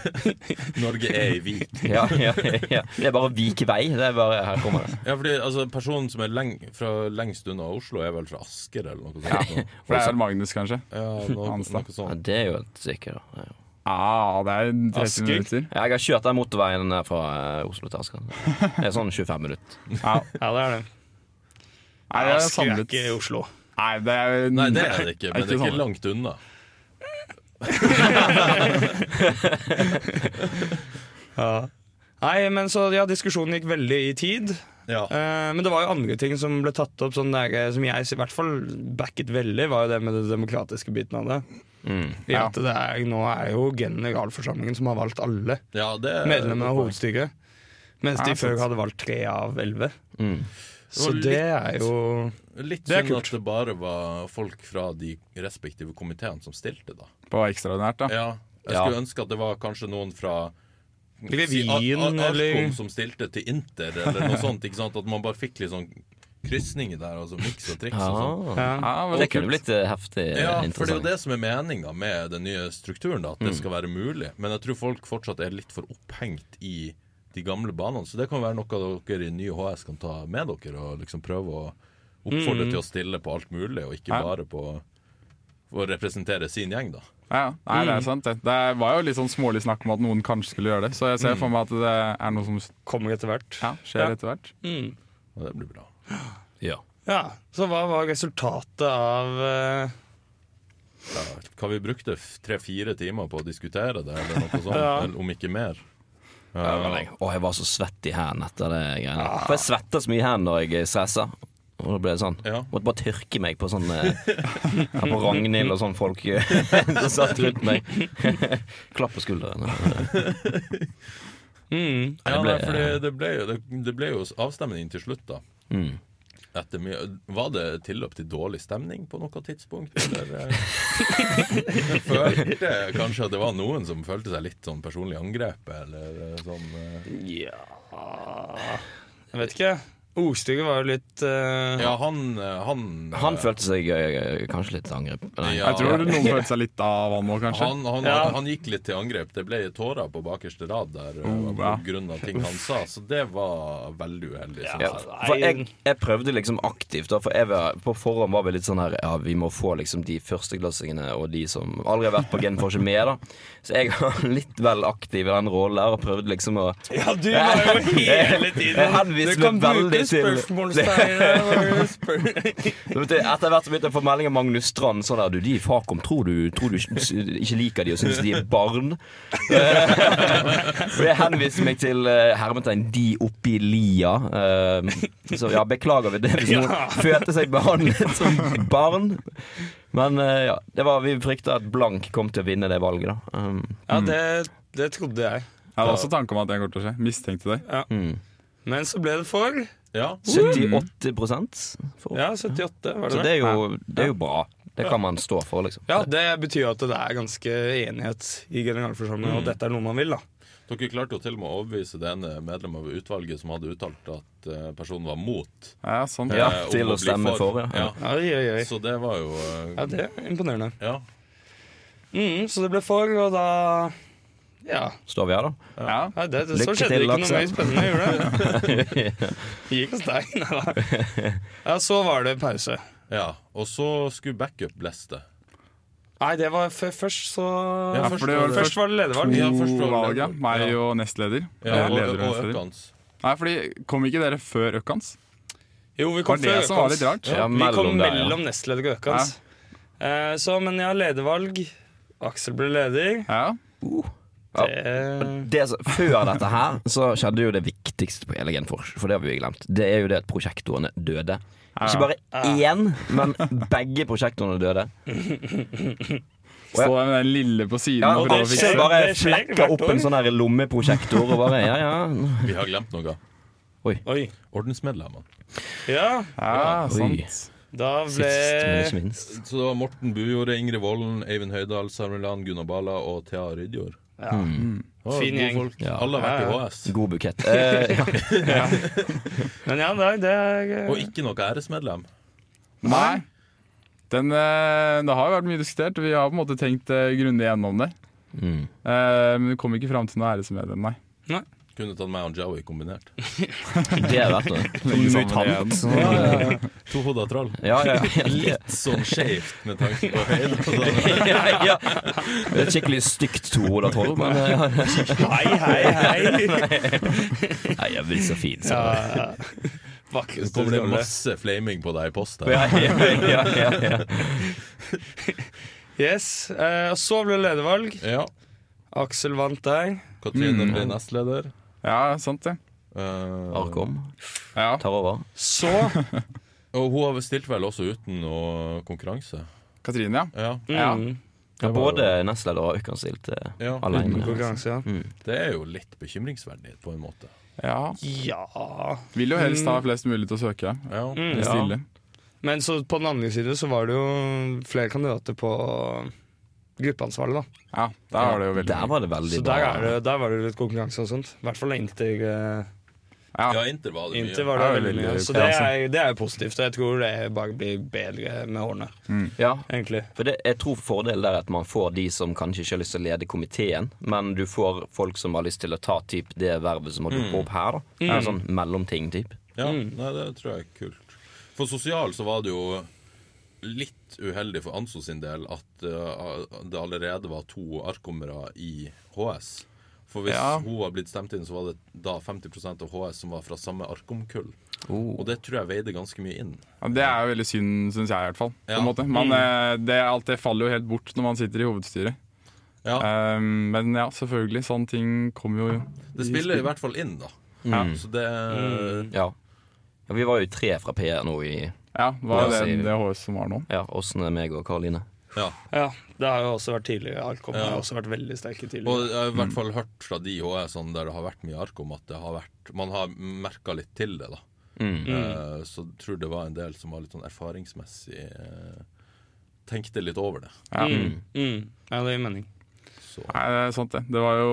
Speaker 1: Norge er i Vik.
Speaker 2: ja, ja, ja. Det er bare Vikevei. Det er bare, her kommer det.
Speaker 1: Ja, fordi altså, personen som er leng fra lengst unna Oslo, er vel fra Asker eller noe sånt?
Speaker 4: For det er Magnus, kanskje.
Speaker 1: Ja, noe,
Speaker 4: Hanstad.
Speaker 1: noe
Speaker 2: Ja,
Speaker 1: sånt.
Speaker 2: det er jo et sikkert. ja, ja.
Speaker 4: Ah, det er 30
Speaker 3: Asker.
Speaker 4: minutter.
Speaker 2: Ja, Jeg har kjørt den motorveien der fra eh, Oslo til Asker. Det er sånn 25 minutter.
Speaker 4: Ja.
Speaker 3: Ja, det er det.
Speaker 4: Nei, det
Speaker 3: Asker
Speaker 4: er
Speaker 3: er
Speaker 4: samlet.
Speaker 3: ikke i Oslo.
Speaker 4: Nei, det er, sånn.
Speaker 1: Nei, det er det ikke, men det er
Speaker 4: samlet.
Speaker 1: ikke langt unna.
Speaker 3: Ja. Nei, men så, ja, Diskusjonen gikk veldig i tid.
Speaker 1: Ja.
Speaker 3: Eh, men det var jo andre ting som ble tatt opp, sånn der, eh, som jeg i hvert fall backet veldig, var jo det med den demokratiske biten av det.
Speaker 2: Mm.
Speaker 3: I at det er, nå er jo generalforsamlingen som har valgt alle
Speaker 1: ja, Eh, det er
Speaker 3: medlemmene av hovedstyret. Mens
Speaker 4: Ja,
Speaker 3: de før
Speaker 4: sant.
Speaker 3: hadde valgt tre av elleve.
Speaker 2: Mm.
Speaker 3: Så
Speaker 1: litt-
Speaker 3: det er jo
Speaker 1: Litt
Speaker 3: Det er
Speaker 1: synd
Speaker 3: kult.
Speaker 1: at det bare var folk fra de respektive komiteene som stilte, da.
Speaker 4: På ekstraordinært, da.
Speaker 1: Ja, jeg
Speaker 2: Ja.
Speaker 1: skulle ønske at det var kanskje noen fra
Speaker 3: Revyen,
Speaker 1: si, Ar- Ar- Arkom
Speaker 3: eller-
Speaker 1: som stilte til Inter, eller noe sånt. ikke sant? At man bare fikk litt sånn krysninger der, altså miks og triks og sånn.
Speaker 2: Ah.
Speaker 3: ja.
Speaker 4: Ja, men
Speaker 2: Det
Speaker 4: kult.
Speaker 2: kunne blitt eh, heftig eh,
Speaker 1: Ja, for det er jo
Speaker 2: interessant.
Speaker 1: det som er meninga med den nye strukturen, da, at det skal være mulig. Men jeg tror folk fortsatt er litt for opphengt i de gamle banene, så det kan være noe dere i nye HS kan ta med dere, og liksom prøve å oppfordre til å stille på alt mulig, og ikke
Speaker 4: Ja.
Speaker 1: bare på å representere sin gjeng, da.
Speaker 4: Ja, nei, det
Speaker 1: Mm.
Speaker 4: er sant. Det Det var jo litt sånn smålig snakk om at noen kanskje skulle gjøre det, så
Speaker 1: Mm.
Speaker 4: jeg ser for meg at det er noe som
Speaker 3: Kommer etter hvert.
Speaker 4: ja, skjer
Speaker 3: Ja.
Speaker 4: etter hvert.
Speaker 3: Mm.
Speaker 1: Og det blir bra.
Speaker 2: Ja.
Speaker 3: Ja, Så hva var resultatet av eh,
Speaker 1: Ja, hva vi brukte tre-fire timer på å diskutere det, eller noe sånt,
Speaker 3: Ja.
Speaker 1: eller om ikke mer.
Speaker 2: Ja, det var lenge. Å, jeg var så svett i hendene etter det greiene.
Speaker 1: Ah.
Speaker 2: For jeg svetta så mye i hendene når jeg stressa. Og da ble det sånn.
Speaker 1: Ja.
Speaker 2: Måtte bare tørke meg på sånn eh, ja, På Ragnhild og sånn folk eh, som satt rundt meg. Klapp på skulderen.
Speaker 3: mm,
Speaker 1: Ja,
Speaker 2: det
Speaker 1: nei,
Speaker 2: ble-
Speaker 1: fordi det ble jo, det, det ble jo avstemning til slutt, da.
Speaker 2: Mm.
Speaker 1: Etter mye, var det tilløp til dårlig stemning på noe tidspunkt? Eller, eh? jeg følte kanskje at det var noen som følte seg litt sånn personlig angrepet, eller eh, sånn eh.
Speaker 3: Ja Jeg vet ikke. Ordstykket var jo litt eh,
Speaker 1: Ja, han, eh, han eh,
Speaker 2: Han følte seg eh, kanskje litt angrep. Nei.
Speaker 1: Ja.
Speaker 4: Jeg tror noen følte seg litt av han nå, kanskje.
Speaker 1: han, han,
Speaker 3: Ja.
Speaker 1: han gikk litt til angrep. Det ble tårer på bakerste rad der eh,
Speaker 4: Oh,
Speaker 1: på
Speaker 4: ja.
Speaker 1: grunn av ting han sa, så det var veldig uheldig. synes
Speaker 2: Ja,
Speaker 1: jeg.
Speaker 2: for jeg, jeg prøvde liksom aktivt, da, for jeg var, på forhånd var vi litt sånn her Ja, vi må få liksom de førsteklassingene og de som aldri har vært på Gen, får ikke med, da. Så jeg var litt vel aktiv i den rollen der og prøvde liksom å
Speaker 3: Ja, du var jo hele
Speaker 2: Jeg
Speaker 3: tiden
Speaker 2: henviser meg veldig til- Du vet, Etter hvert så begynte jeg å få melding av Magnus Strand sånn der Du, de i Fakom, tror du, tror du ikke- ikke liker de og syns de er barn? Eh, For jeg henviste meg til eh, hermetegn de oppi lia. eh, Så ja, beklager vi det hvis noen
Speaker 3: Ja.
Speaker 2: følte seg behandlet som barn. Men eh, ja, det var, vi frykta at Blank kom til å vinne det valget, da. Um,
Speaker 3: Ja, det, det trodde jeg.
Speaker 4: Jeg hadde også tanke om at det kommer til å skje. Mistenkte deg.
Speaker 2: mm.
Speaker 3: Men så ble det for.
Speaker 1: Ja.
Speaker 2: 78 for.
Speaker 3: Ja, 78 var
Speaker 2: Så
Speaker 3: det
Speaker 2: det
Speaker 3: det.
Speaker 2: er, jo, det er jo bra. Det kan man stå for, liksom.
Speaker 3: Ja, det betyr jo at det er ganske enighet i generalforsamlingen, og dette er noe man vil, da.
Speaker 1: Dere klarte jo til og med å overbevise det ene medlemmet av utvalget som hadde uttalt at eh, personen var mot.
Speaker 4: Ja, sånn.
Speaker 2: Ja,
Speaker 1: eh, om
Speaker 2: til å
Speaker 1: bli
Speaker 2: stemme for, ja.
Speaker 3: Oi, oi, oi.
Speaker 1: Så det var jo eh,
Speaker 3: Ja, det er imponerende.
Speaker 1: Ja.
Speaker 3: Mm, så det ble for, og da Ja.
Speaker 2: Står vi her, da?
Speaker 4: Ja.
Speaker 3: Nei, det, det, så
Speaker 2: Lykke
Speaker 3: skjedde det
Speaker 2: til,
Speaker 3: ikke
Speaker 2: Aksel.
Speaker 3: noe mer spennende, gjorde det? Gikk hos deg. Nei da. Ja, så var det pause.
Speaker 1: ja. Og så skulle backup leste.
Speaker 3: Nei, det var før- først, så
Speaker 1: Ja,
Speaker 4: for det var
Speaker 3: først,
Speaker 4: først-
Speaker 3: var det ledervalg.
Speaker 1: Ja,
Speaker 4: To
Speaker 1: først var det
Speaker 4: valg, ja.
Speaker 1: leder.
Speaker 4: Meg
Speaker 1: Ja.
Speaker 4: og nestleder.
Speaker 1: Ja,
Speaker 4: Eh,
Speaker 1: og,
Speaker 4: leder og
Speaker 1: og
Speaker 4: nestleder.
Speaker 1: Økans.
Speaker 4: Nei, fordi Kom ikke dere før Økans?
Speaker 3: Jo, vi
Speaker 4: Var
Speaker 3: kom
Speaker 4: det
Speaker 3: før
Speaker 4: som var
Speaker 3: Økans.
Speaker 4: litt rart?
Speaker 2: Ja,
Speaker 3: Vi kom
Speaker 2: mellom der, ja.
Speaker 3: mellom nestleder og Økans. Eh, så, men ja, ledervalg. Aksel ble leder.
Speaker 4: Ja.
Speaker 2: Ja.
Speaker 3: Det
Speaker 2: det, som- før dette her så skjedde jo det viktigste på hele Genfors, for det har vi glemt. Det er jo det at prosjektorene døde. Ikke bare én, men begge prosjektorene døde.
Speaker 4: Stå der med den lille på siden.
Speaker 2: Ja,
Speaker 4: og
Speaker 2: og
Speaker 4: prøve å
Speaker 2: det
Speaker 4: fikse-
Speaker 3: skjer-
Speaker 2: bare
Speaker 3: det skjer
Speaker 2: flekka
Speaker 3: hvert
Speaker 2: opp en
Speaker 3: år.
Speaker 2: sånn her lommeprosjektor og bare ja, ja.
Speaker 1: Vi har glemt noe.
Speaker 3: Oi.
Speaker 1: Ordensmedlemmene.
Speaker 3: Ja,
Speaker 4: ja, sånn.
Speaker 2: Oi.
Speaker 4: sant.
Speaker 3: da
Speaker 2: Sist, men ikke
Speaker 3: ble
Speaker 2: minst.
Speaker 1: Så det var Morten Bujordet, Ingrid Vollen, Eivind Høydahl, Sarmen Land, Gunnar Bala og Thea Rydjord.
Speaker 3: ja.
Speaker 1: Å,
Speaker 3: Fin
Speaker 1: gode
Speaker 3: gjeng.
Speaker 1: folk.
Speaker 2: Ja.
Speaker 1: Alle har vært
Speaker 3: Ja,
Speaker 1: i
Speaker 3: ja.
Speaker 1: HS.
Speaker 2: God bukett. Eh, ja.
Speaker 3: Men ja, nei, det er
Speaker 1: Og ikke noe æresmedlem.
Speaker 4: Nei. Den, eh, det har jo vært mye diskutert, og vi har på en måte tenkt eh, grundig gjennom det.
Speaker 2: Mm.
Speaker 4: Eh, Men vi kom ikke fram til noe æresmedlem, nei.
Speaker 1: Kunne tatt meg og Joey kombinert.
Speaker 2: Det er verdt det.
Speaker 4: Legge sammen
Speaker 2: Mutant.
Speaker 4: igjen.
Speaker 2: Ja,
Speaker 1: Tohoda troll.
Speaker 2: ja, ja. ja.
Speaker 1: Litt sånn skeivt med tanke på hele sånn.
Speaker 2: ja, ja. Det er et skikkelig stygt tohoda troll, men eh,
Speaker 3: Hei, hei, hei.
Speaker 2: Nei, jeg blir så fin. Så.
Speaker 3: Ja.
Speaker 1: Så
Speaker 3: Vakreste
Speaker 1: kommer det
Speaker 3: skole.
Speaker 1: masse flaming på deg i post her.
Speaker 2: Ja, ja, ja, ja, ja.
Speaker 3: Yes, eh, og så ble det ledervalg.
Speaker 1: Ja.
Speaker 3: Aksel vant der.
Speaker 1: Katrine
Speaker 4: Mm.
Speaker 1: ble nestleder.
Speaker 4: Ja, sant det.
Speaker 1: Eh,
Speaker 2: Arkom
Speaker 4: Ja.
Speaker 2: tar over.
Speaker 3: Så
Speaker 1: og hun har stilt vel også uten noe konkurranse.
Speaker 4: Katrine, ja.
Speaker 1: Ja.
Speaker 4: Ja.
Speaker 3: mm,
Speaker 2: Ja,
Speaker 1: Det var
Speaker 2: både
Speaker 1: jo-
Speaker 2: nestleder og Økern stilte
Speaker 1: Ja.
Speaker 2: alene.
Speaker 3: konkurranse, ja. Mm.
Speaker 1: Det er jo litt bekymringsverdig, på en måte.
Speaker 4: ja. Mm.
Speaker 3: Ja
Speaker 4: Vil jo helst ha flest mulig til å søke.
Speaker 1: Ja.
Speaker 3: Mm.
Speaker 4: Eller
Speaker 2: Ja.
Speaker 4: stille.
Speaker 3: Men så på den andre siden så var det jo flere kandidater på gruppeansvarlig, da.
Speaker 4: Ja, der var det jo veldig
Speaker 2: Der var det veldig
Speaker 3: Så
Speaker 2: bra.
Speaker 3: der, er det, der var det litt konkurranse og sånt. I hvert fall inntil, eh,
Speaker 1: ja,
Speaker 4: Ja.
Speaker 1: Inter var det
Speaker 3: inntil
Speaker 1: mye.
Speaker 3: var det
Speaker 4: Ja,
Speaker 3: veldig mye.
Speaker 4: veldig
Speaker 3: Så det er, det er jo positivt, og jeg tror det bare blir bedre med årene,
Speaker 2: Ja,
Speaker 3: egentlig.
Speaker 2: for det, jeg tror fordelen der er at man får de som kanskje ikke har lyst til å lede komiteen, men du får folk som har lyst til å ta typ, det vervet som har dukket opp her. da. Det er En sånn mellomting, typ.
Speaker 1: Ja, nei, det tror jeg er kult. For sosial så var det jo litt uheldig for Anso sin del at eh, det allerede var to arkommere i HS. For hvis
Speaker 4: Ja.
Speaker 1: hun var blitt stemt inn, så var det da 50 av HS som var fra samme arkomkull. Og det tror jeg veide ganske mye inn.
Speaker 4: Ja, det er jo veldig synd, syns jeg i hvert fall. På
Speaker 1: Ja.
Speaker 4: en måte.
Speaker 2: Mm.
Speaker 4: Man, eh, det, alt det faller jo helt bort når man sitter i hovedstyret.
Speaker 1: Ja,
Speaker 4: Eh, men ja, selvfølgelig. Sånne ting kommer jo
Speaker 1: Det spiller i hvert fall inn, da. Ja, Mm. så det
Speaker 2: Ja. ja. Vi var jo tre fra PR nå i
Speaker 4: Ja, var
Speaker 2: Ja,
Speaker 4: det
Speaker 2: sier-
Speaker 4: det HS som var nå?
Speaker 2: ja, Åsne, meg og Karoline.
Speaker 1: Ja.
Speaker 3: Ja, det har jo også vært tidligere. Alkom
Speaker 1: Ja.
Speaker 3: har også vært veldig sterke
Speaker 1: Og
Speaker 3: tidligere.
Speaker 1: jeg har i hvert fall hørt fra de HS-ene der det har vært mye arkom, at det har vært, man har merka litt til det, da.
Speaker 2: Mm.
Speaker 1: Eh, Så jeg tror det var en del som var litt sånn erfaringsmessig eh, Tenkte litt over det.
Speaker 4: Ja.
Speaker 3: Mm, mm. Ja, det gir mening.
Speaker 1: Så.
Speaker 4: Nei, det er sant det. Det var jo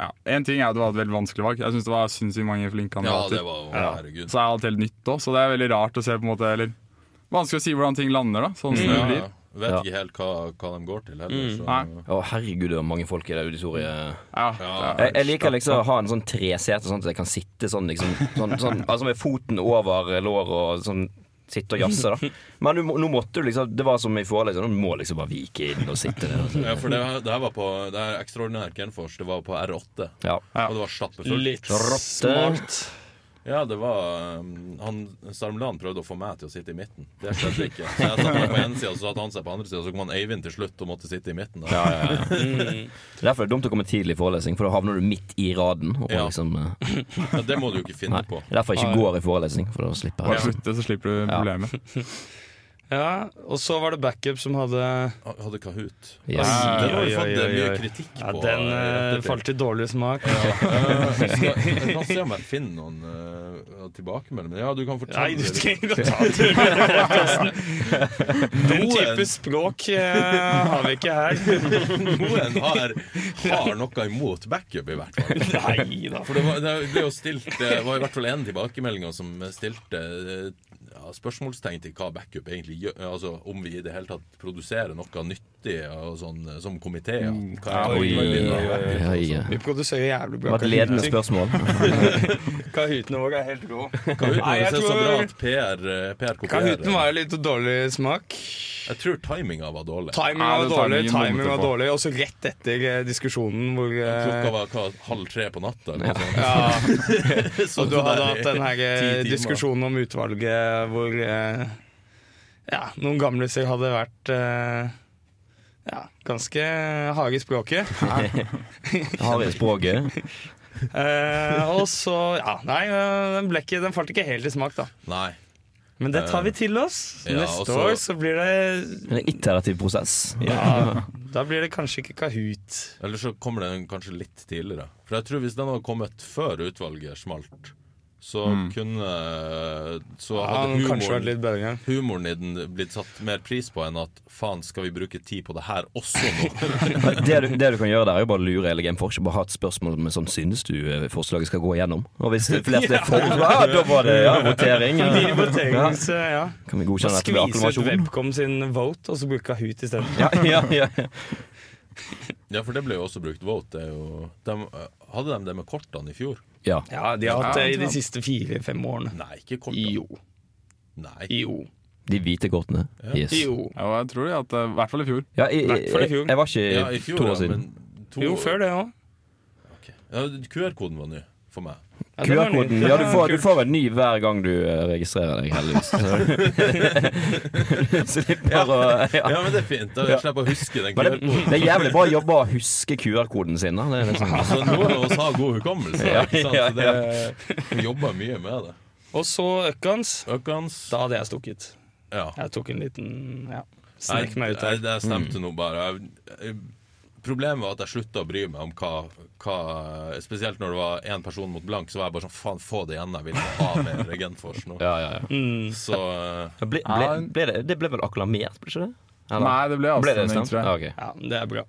Speaker 4: ja. En ting er at det var et veldig vanskelig valg. Jeg syns det var sinnssykt mange flinke
Speaker 1: Ja,
Speaker 4: kandidater.
Speaker 1: det var jo Herregud.
Speaker 4: Så er alt helt nytt òg, så det er veldig rart å se på en måte Eller vanskelig å si hvordan ting lander, da. Sånn som det
Speaker 1: Ja,
Speaker 4: blir.
Speaker 1: ja. vet
Speaker 2: Ja.
Speaker 1: ikke helt hva, hva de går til heller.
Speaker 4: Nei.
Speaker 1: Så.
Speaker 2: Å, herregud, det var mange folk i det auditoriet.
Speaker 4: Ja.
Speaker 1: Ja.
Speaker 2: Jeg, jeg liker liksom å ha en sånn tresete, sånn at jeg kan sitte sånn, liksom, sånn, sånn altså med foten over låret og sånn sitte og jazze, da. Men du, må- nå måtte du liksom Det var som i forelesningen, du må liksom bare vike inn og sitte der. og så-
Speaker 1: Ja, for det, her- det her var på Det her ekstraordinær Genfors. Det var på R8.
Speaker 2: Ja.
Speaker 4: Ja.
Speaker 1: Og det var stappfullt.
Speaker 3: Litt
Speaker 2: Rotte.
Speaker 3: smalt.
Speaker 1: Ja, det var um, han, Sarmland prøvde å få meg til å sitte i midten. Det skjedde ikke. Så jeg satt meg på ene sida, så satt han seg på andre sida, så kom han Eivind til slutt og måtte sitte i midten. Da.
Speaker 2: Derfor er det dumt å komme tidlig i forelesning, for da havner du midt i raden. Og
Speaker 1: Ja.
Speaker 2: liksom, eh,
Speaker 1: Ja, det må du jo ikke finne
Speaker 2: nei.
Speaker 1: på. Ah,
Speaker 2: Derfor jeg ikke går i forelesning, for da slipper
Speaker 4: Bare
Speaker 2: jeg.
Speaker 4: slutte, så slipper du problemet.
Speaker 3: Ja, og så var det backup som hadde
Speaker 1: Hadde Kahoot. Den
Speaker 2: Yes.
Speaker 3: Oi,
Speaker 1: har
Speaker 3: oi,
Speaker 1: jo fått
Speaker 3: oi,
Speaker 1: mye
Speaker 3: oi.
Speaker 1: kritikk på.
Speaker 3: Ja, den eh,
Speaker 1: eh, ettertid.
Speaker 3: falt i dårlig smak.
Speaker 1: Eh, skal- jeg kan se om jeg finner noen uh, tilbakemeldinger. Ja, du kan
Speaker 3: Nei,
Speaker 1: fortelle
Speaker 3: du
Speaker 1: det.
Speaker 3: trenger ikke å ta det med deg, Karsten. Den type språk eh, har vi ikke her.
Speaker 1: Noen har, har noe imot backup, i hvert fall.
Speaker 3: Nei da.
Speaker 1: For det var, det ble jo stilt Det var i hvert fall en tilbakemelding som stilte eh, ja, spørsmålstegn til hva backup egentlig gjør. Altså om vi i det hele tatt produserer noe nyttig og sånn, eh, som komiteer.
Speaker 3: Mm.
Speaker 1: Hva er
Speaker 2: Oi, oi,
Speaker 1: hovedverdien av
Speaker 2: oi,
Speaker 1: backup?
Speaker 2: oi.
Speaker 3: Vi produserer jævlig
Speaker 2: Det
Speaker 3: bra.
Speaker 2: var et ledende spørsmål.
Speaker 3: Kahooten vår er helt rå.
Speaker 1: Kahooten
Speaker 3: Nei, jeg
Speaker 1: er så bra
Speaker 3: tror-
Speaker 1: at PR, eh, PR kopierer.
Speaker 3: Kahooten var jo litt dårlig smak.
Speaker 1: Jeg tror timinga var dårlig.
Speaker 3: Timing var
Speaker 4: Ja, det
Speaker 3: dårlig,
Speaker 4: timingen
Speaker 3: timing
Speaker 4: bommet
Speaker 3: var
Speaker 4: på.
Speaker 3: dårlig, og så rett etter eh, diskusjonen hvor eh,
Speaker 1: Klokka var hva, halv tre på natta. Eller noe sånt.
Speaker 3: ja,
Speaker 1: Så
Speaker 3: Og du
Speaker 1: det
Speaker 3: hadde
Speaker 1: der
Speaker 3: hatt den her eh,
Speaker 1: i ti timer.
Speaker 3: diskusjonen om utvalget hvor eh, ja, noen gamliser hadde vært eh, ja, ganske harde i språket.
Speaker 2: Harry språket.
Speaker 3: Eh, og så Ja, nei, eh, den, ble ikke, den falt ikke helt i smak, da.
Speaker 1: Nei.
Speaker 3: Men det tar vi til oss.
Speaker 1: Ja, og
Speaker 3: Neste
Speaker 1: så-
Speaker 3: år så blir det
Speaker 2: En iterativ prosess.
Speaker 3: Ja, da blir det kanskje ikke Kahoot.
Speaker 1: Eller så kommer den kanskje litt tidligere. For jeg tror hvis den hadde kommet før utvalget smalt, så
Speaker 2: Mm.
Speaker 1: kunne Så hadde
Speaker 3: Han kanskje
Speaker 1: humoren,
Speaker 3: vært litt bedre.
Speaker 1: humoren i den blitt satt mer pris på enn at faen, skal vi bruke tid på det her også nå?
Speaker 2: Det du, det du kan gjøre der, er jo bare å lure hele Gameforce. Bare ha et spørsmål med sånn Synes du eh, forslaget skal gå igjennom? Og hvis de fleste er for, så bare, ja, da var det ja, votering.
Speaker 3: Ny
Speaker 2: Ja.
Speaker 3: votering, så ja.
Speaker 2: Kan vi
Speaker 3: Så
Speaker 2: godkjenne dette ved
Speaker 3: skvise ut
Speaker 2: akklimasjon?
Speaker 3: Webcom sin vote, og så bruke Kahoot isteden.
Speaker 2: Ja, ja, ja.
Speaker 1: Ja, for det ble jo også brukt vote. Det er jo, dem- hadde de det med kortene i fjor?
Speaker 2: ja.
Speaker 3: Ja, de har hatt det i de
Speaker 4: Ja.
Speaker 3: siste fire-fem årene.
Speaker 1: Nei, ikke kortene.
Speaker 3: Jo.
Speaker 1: Nei.
Speaker 3: Jo.
Speaker 2: De hvite kortene. Yes.
Speaker 3: Jo.
Speaker 4: Ja, og jeg tror det at, eh, I hvert fall i fjor.
Speaker 2: Ja, jeg,
Speaker 3: Hvert fall i
Speaker 2: jeg,
Speaker 3: fjor.
Speaker 2: jeg var
Speaker 1: Ja,
Speaker 2: ikke
Speaker 1: i fjor,
Speaker 2: to år
Speaker 1: ja,
Speaker 2: siden.
Speaker 1: men to-
Speaker 3: jo, før det òg.
Speaker 1: Ok. Ja, QR-koden var ny for meg.
Speaker 2: QR-koden. Ja, du får, du får en ny hver gang du eh, registrerer deg, heldigvis. Så- Så slipper å ja.
Speaker 1: Ja, men det er fint. Da slipper jeg å huske den
Speaker 2: Men det,
Speaker 1: QR-koden.
Speaker 2: det er jævlig bra jobba å huske QR-koden sin. Da. Det er liksom,
Speaker 1: Altså, noen av oss har god hukommelse.
Speaker 2: Ja,
Speaker 1: ikke sant?
Speaker 2: ja,
Speaker 1: Så det, vi jobber mye med det.
Speaker 3: Eh, Og så Økkans.
Speaker 1: Økkans
Speaker 3: Da hadde jeg stukket.
Speaker 1: ja.
Speaker 3: Jeg tok en liten ja,
Speaker 1: Jeg,
Speaker 3: snek meg ut
Speaker 1: jeg,
Speaker 3: her.
Speaker 1: jeg
Speaker 2: Mm.
Speaker 1: stemte nå bare. Jeg, jeg, problemet var at jeg slutta å bry meg om hva, hva Spesielt når det var én person mot blank, så var jeg bare sånn faen, få det igjen. Jeg vil ikke ha mer Regentfors nå.
Speaker 2: ja, ja, ja.
Speaker 3: Mm.
Speaker 1: Så eh,
Speaker 2: Ja, Ble, ble,
Speaker 4: Ja.
Speaker 2: ble det, det ble vel akklamert, ble ikke det? Eller?
Speaker 4: Nei, det ble
Speaker 2: ble det
Speaker 4: avstemning,
Speaker 2: stemt?
Speaker 4: tror jeg.
Speaker 2: Ja, ok.
Speaker 3: Ja, men det er bra.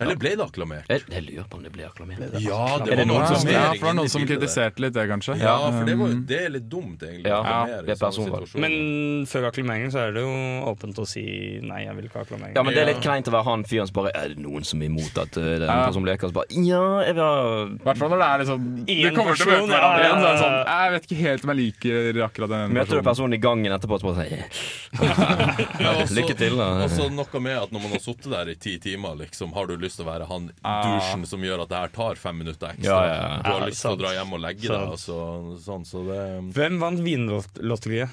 Speaker 1: Eller ble det akklamert?
Speaker 2: jeg, jeg lurer på om det ble akklamert.
Speaker 1: Ja,
Speaker 2: Er det noen som-
Speaker 1: akklamering
Speaker 2: Um,
Speaker 4: Ja, for det er
Speaker 1: inni
Speaker 4: noen som
Speaker 1: bildet der.
Speaker 4: kritiserte litt det, kanskje. um,
Speaker 1: Ja, for det, var, det er litt dumt, egentlig.
Speaker 2: Ja,
Speaker 1: å akklamere
Speaker 2: det er
Speaker 1: i sånne
Speaker 2: personvalg.
Speaker 1: situasjoner.
Speaker 3: Men før akklimeringen så er det jo åpent å si nei, jeg vil ikke ha akklimering.
Speaker 2: Ja, men Det er litt kleint å være han fyren som bare Er det noen som er imot at uh, den
Speaker 4: Ja.
Speaker 2: personen leker? Så bare Ja, jeg vil ha
Speaker 4: I hvert fall når det er liksom
Speaker 3: Én
Speaker 4: Du kommer til å
Speaker 3: person,
Speaker 4: møte
Speaker 3: ja,
Speaker 4: hverandre
Speaker 3: ja,
Speaker 4: igjen. så er det
Speaker 3: ja.
Speaker 4: Sånn, jeg vet ikke helt om jeg liker akkurat den
Speaker 2: Møter du personen i gangen etterpå og bare sier
Speaker 1: Ja, og så-
Speaker 2: Lykke til, da.
Speaker 1: Og så noe med at når man har sittet der i ti timer, liksom, har du lyst til å være han
Speaker 4: Ah.
Speaker 1: douchen som gjør at det her tar fem minutter ekstra.
Speaker 2: Ja, ja, ja.
Speaker 1: Du har
Speaker 3: Ja,
Speaker 1: lyst til å
Speaker 3: sant.
Speaker 1: dra hjem og legge deg,
Speaker 3: Sant.
Speaker 1: og så, sånn, så det
Speaker 3: Hvem vant vinlotteriet?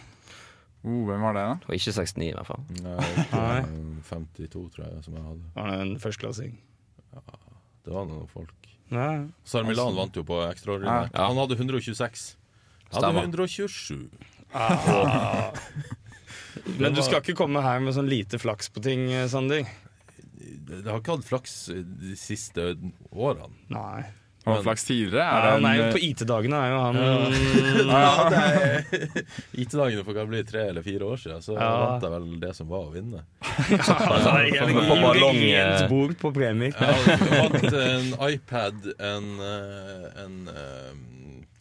Speaker 4: Oh, hvem var det, da?
Speaker 2: Og ikke 69, i hvert fall.
Speaker 4: Mm.
Speaker 1: Nei, 52, eh, tror jeg, som jeg hadde.
Speaker 3: Var det en førsteklassing?
Speaker 1: Det var noen folk.
Speaker 3: Ja.
Speaker 1: Sara Milan vant jo på ekstraordinært.
Speaker 2: Ja.
Speaker 1: Han hadde 126. Jeg hadde
Speaker 2: Stemmer.
Speaker 1: 127.
Speaker 3: Men du skal ikke komme her med sånn lite flaks på ting, eh, Sander.
Speaker 1: Jeg har ikke hatt flaks de siste årene.
Speaker 3: Nei.
Speaker 4: Var det flaks tidligere? Er det
Speaker 3: Han er
Speaker 4: en,
Speaker 3: jo
Speaker 4: eh,
Speaker 3: på IT-dagene, er jo han
Speaker 1: Ja, det er- IT-dagene for hva blir det, tre eller fire år siden, så
Speaker 3: Ja.
Speaker 1: vant jeg vel det som var å vinne.
Speaker 2: På ballong, eh.
Speaker 3: Rent bord på premier.
Speaker 1: Jeg hadde hatt en iPad, en, eh, en eh,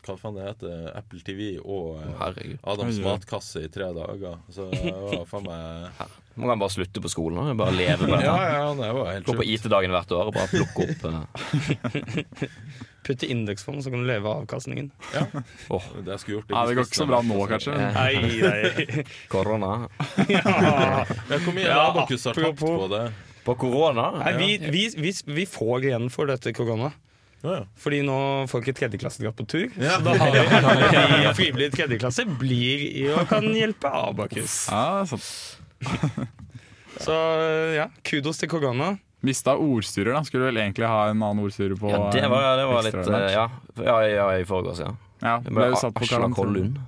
Speaker 1: Hva faen det heter Apple TV og eh,
Speaker 2: Herregud.
Speaker 1: Adams
Speaker 4: Oi, oi.
Speaker 1: matkasse i tre dager. Så jeg var faen meg
Speaker 2: Må kan bare slutte på skolen og bare leve med det.
Speaker 1: Ja, ja, det var helt
Speaker 2: Gå på
Speaker 1: sjukt.
Speaker 2: IT-dagen hvert år og bare plukke opp eh,
Speaker 3: Putt i indeksfond, så kan du leve av avkastningen.
Speaker 1: Det jeg skulle gjort
Speaker 4: ja, det går ikke så bra nå, kanskje. Men
Speaker 3: Nei, nei.
Speaker 2: korona.
Speaker 3: Ja.
Speaker 1: Men Hvor mye
Speaker 3: Ja,
Speaker 1: Abakus har tapt
Speaker 3: apropos.
Speaker 1: på det?
Speaker 2: På korona?
Speaker 3: Nei, vi, vi, vi, vi får igjen for dette korona.
Speaker 1: Ja, ja.
Speaker 3: Fordi nå får ikke tredjeklassedratt på tur.
Speaker 1: Ja.
Speaker 3: Så da har vi vi frivillige tredjeklasse blir i og kan hjelpe Abakus.
Speaker 4: ja, sånn.
Speaker 3: Så eh, ja, kudos til korona.
Speaker 4: Mista ordstyrer, da. Skulle vel egentlig ha en annen ordstyrer på eh,
Speaker 2: Ja, det var, det var litt
Speaker 4: ekstraordinært.
Speaker 2: eh, Ja, ja, ja i forgås, ja.
Speaker 4: Ja,
Speaker 2: Det
Speaker 4: ble
Speaker 2: var
Speaker 4: satt på
Speaker 2: Asla
Speaker 4: karantene.
Speaker 2: Kollund.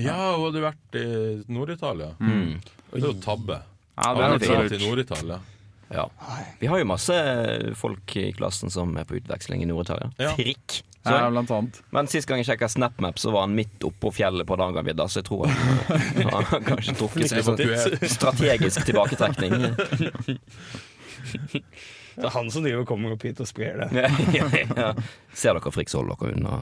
Speaker 1: Ja, hun hadde vært i Nord-Italia.
Speaker 2: Mm.
Speaker 1: Det er jo tabbe.
Speaker 4: Mm. Ja, det
Speaker 2: Ja,
Speaker 4: er
Speaker 2: det
Speaker 4: litt
Speaker 2: er
Speaker 1: Dra
Speaker 4: så
Speaker 1: til
Speaker 4: lurt.
Speaker 1: Nord-Italia.
Speaker 2: Ja. Vi har jo masse folk i klassen som er på utveksling i Nord-Italia.
Speaker 1: Ja.
Speaker 2: Frikk. Så,
Speaker 4: Ja, blant annet.
Speaker 2: Men sist gang jeg sjekka SnapMap, så var han midt oppå fjellet på Hardangervidda, så jeg tror han, han har kanskje trukket seg litt
Speaker 1: Evakuert.
Speaker 2: sånn strategisk tilbaketrekning.
Speaker 3: Det er han som driver og kommer opp hit og sprer det.
Speaker 2: Ja, ja, ja. Ser dere Frikk, så hold dere unna.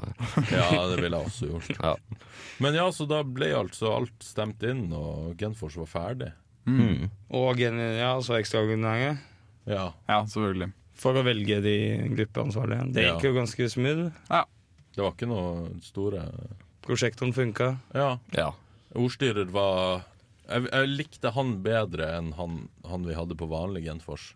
Speaker 1: Ja, det ville jeg også gjort.
Speaker 2: Ja.
Speaker 1: Men ja, så da ble altså alt stemt inn, og Genfors var ferdig.
Speaker 2: Mm.
Speaker 3: Og gen- ja, så ekstraordinære.
Speaker 1: Ja.
Speaker 4: Ja, selvfølgelig.
Speaker 3: For å velge de gruppeansvarlige. Det gikk jo ganske smooth.
Speaker 1: Det var ikke noe store
Speaker 3: Prosjektoren funka.
Speaker 1: Ja.
Speaker 2: ja.
Speaker 1: Ordstyrer var jeg, jeg likte han bedre enn han, han vi hadde på vanlig Genfors.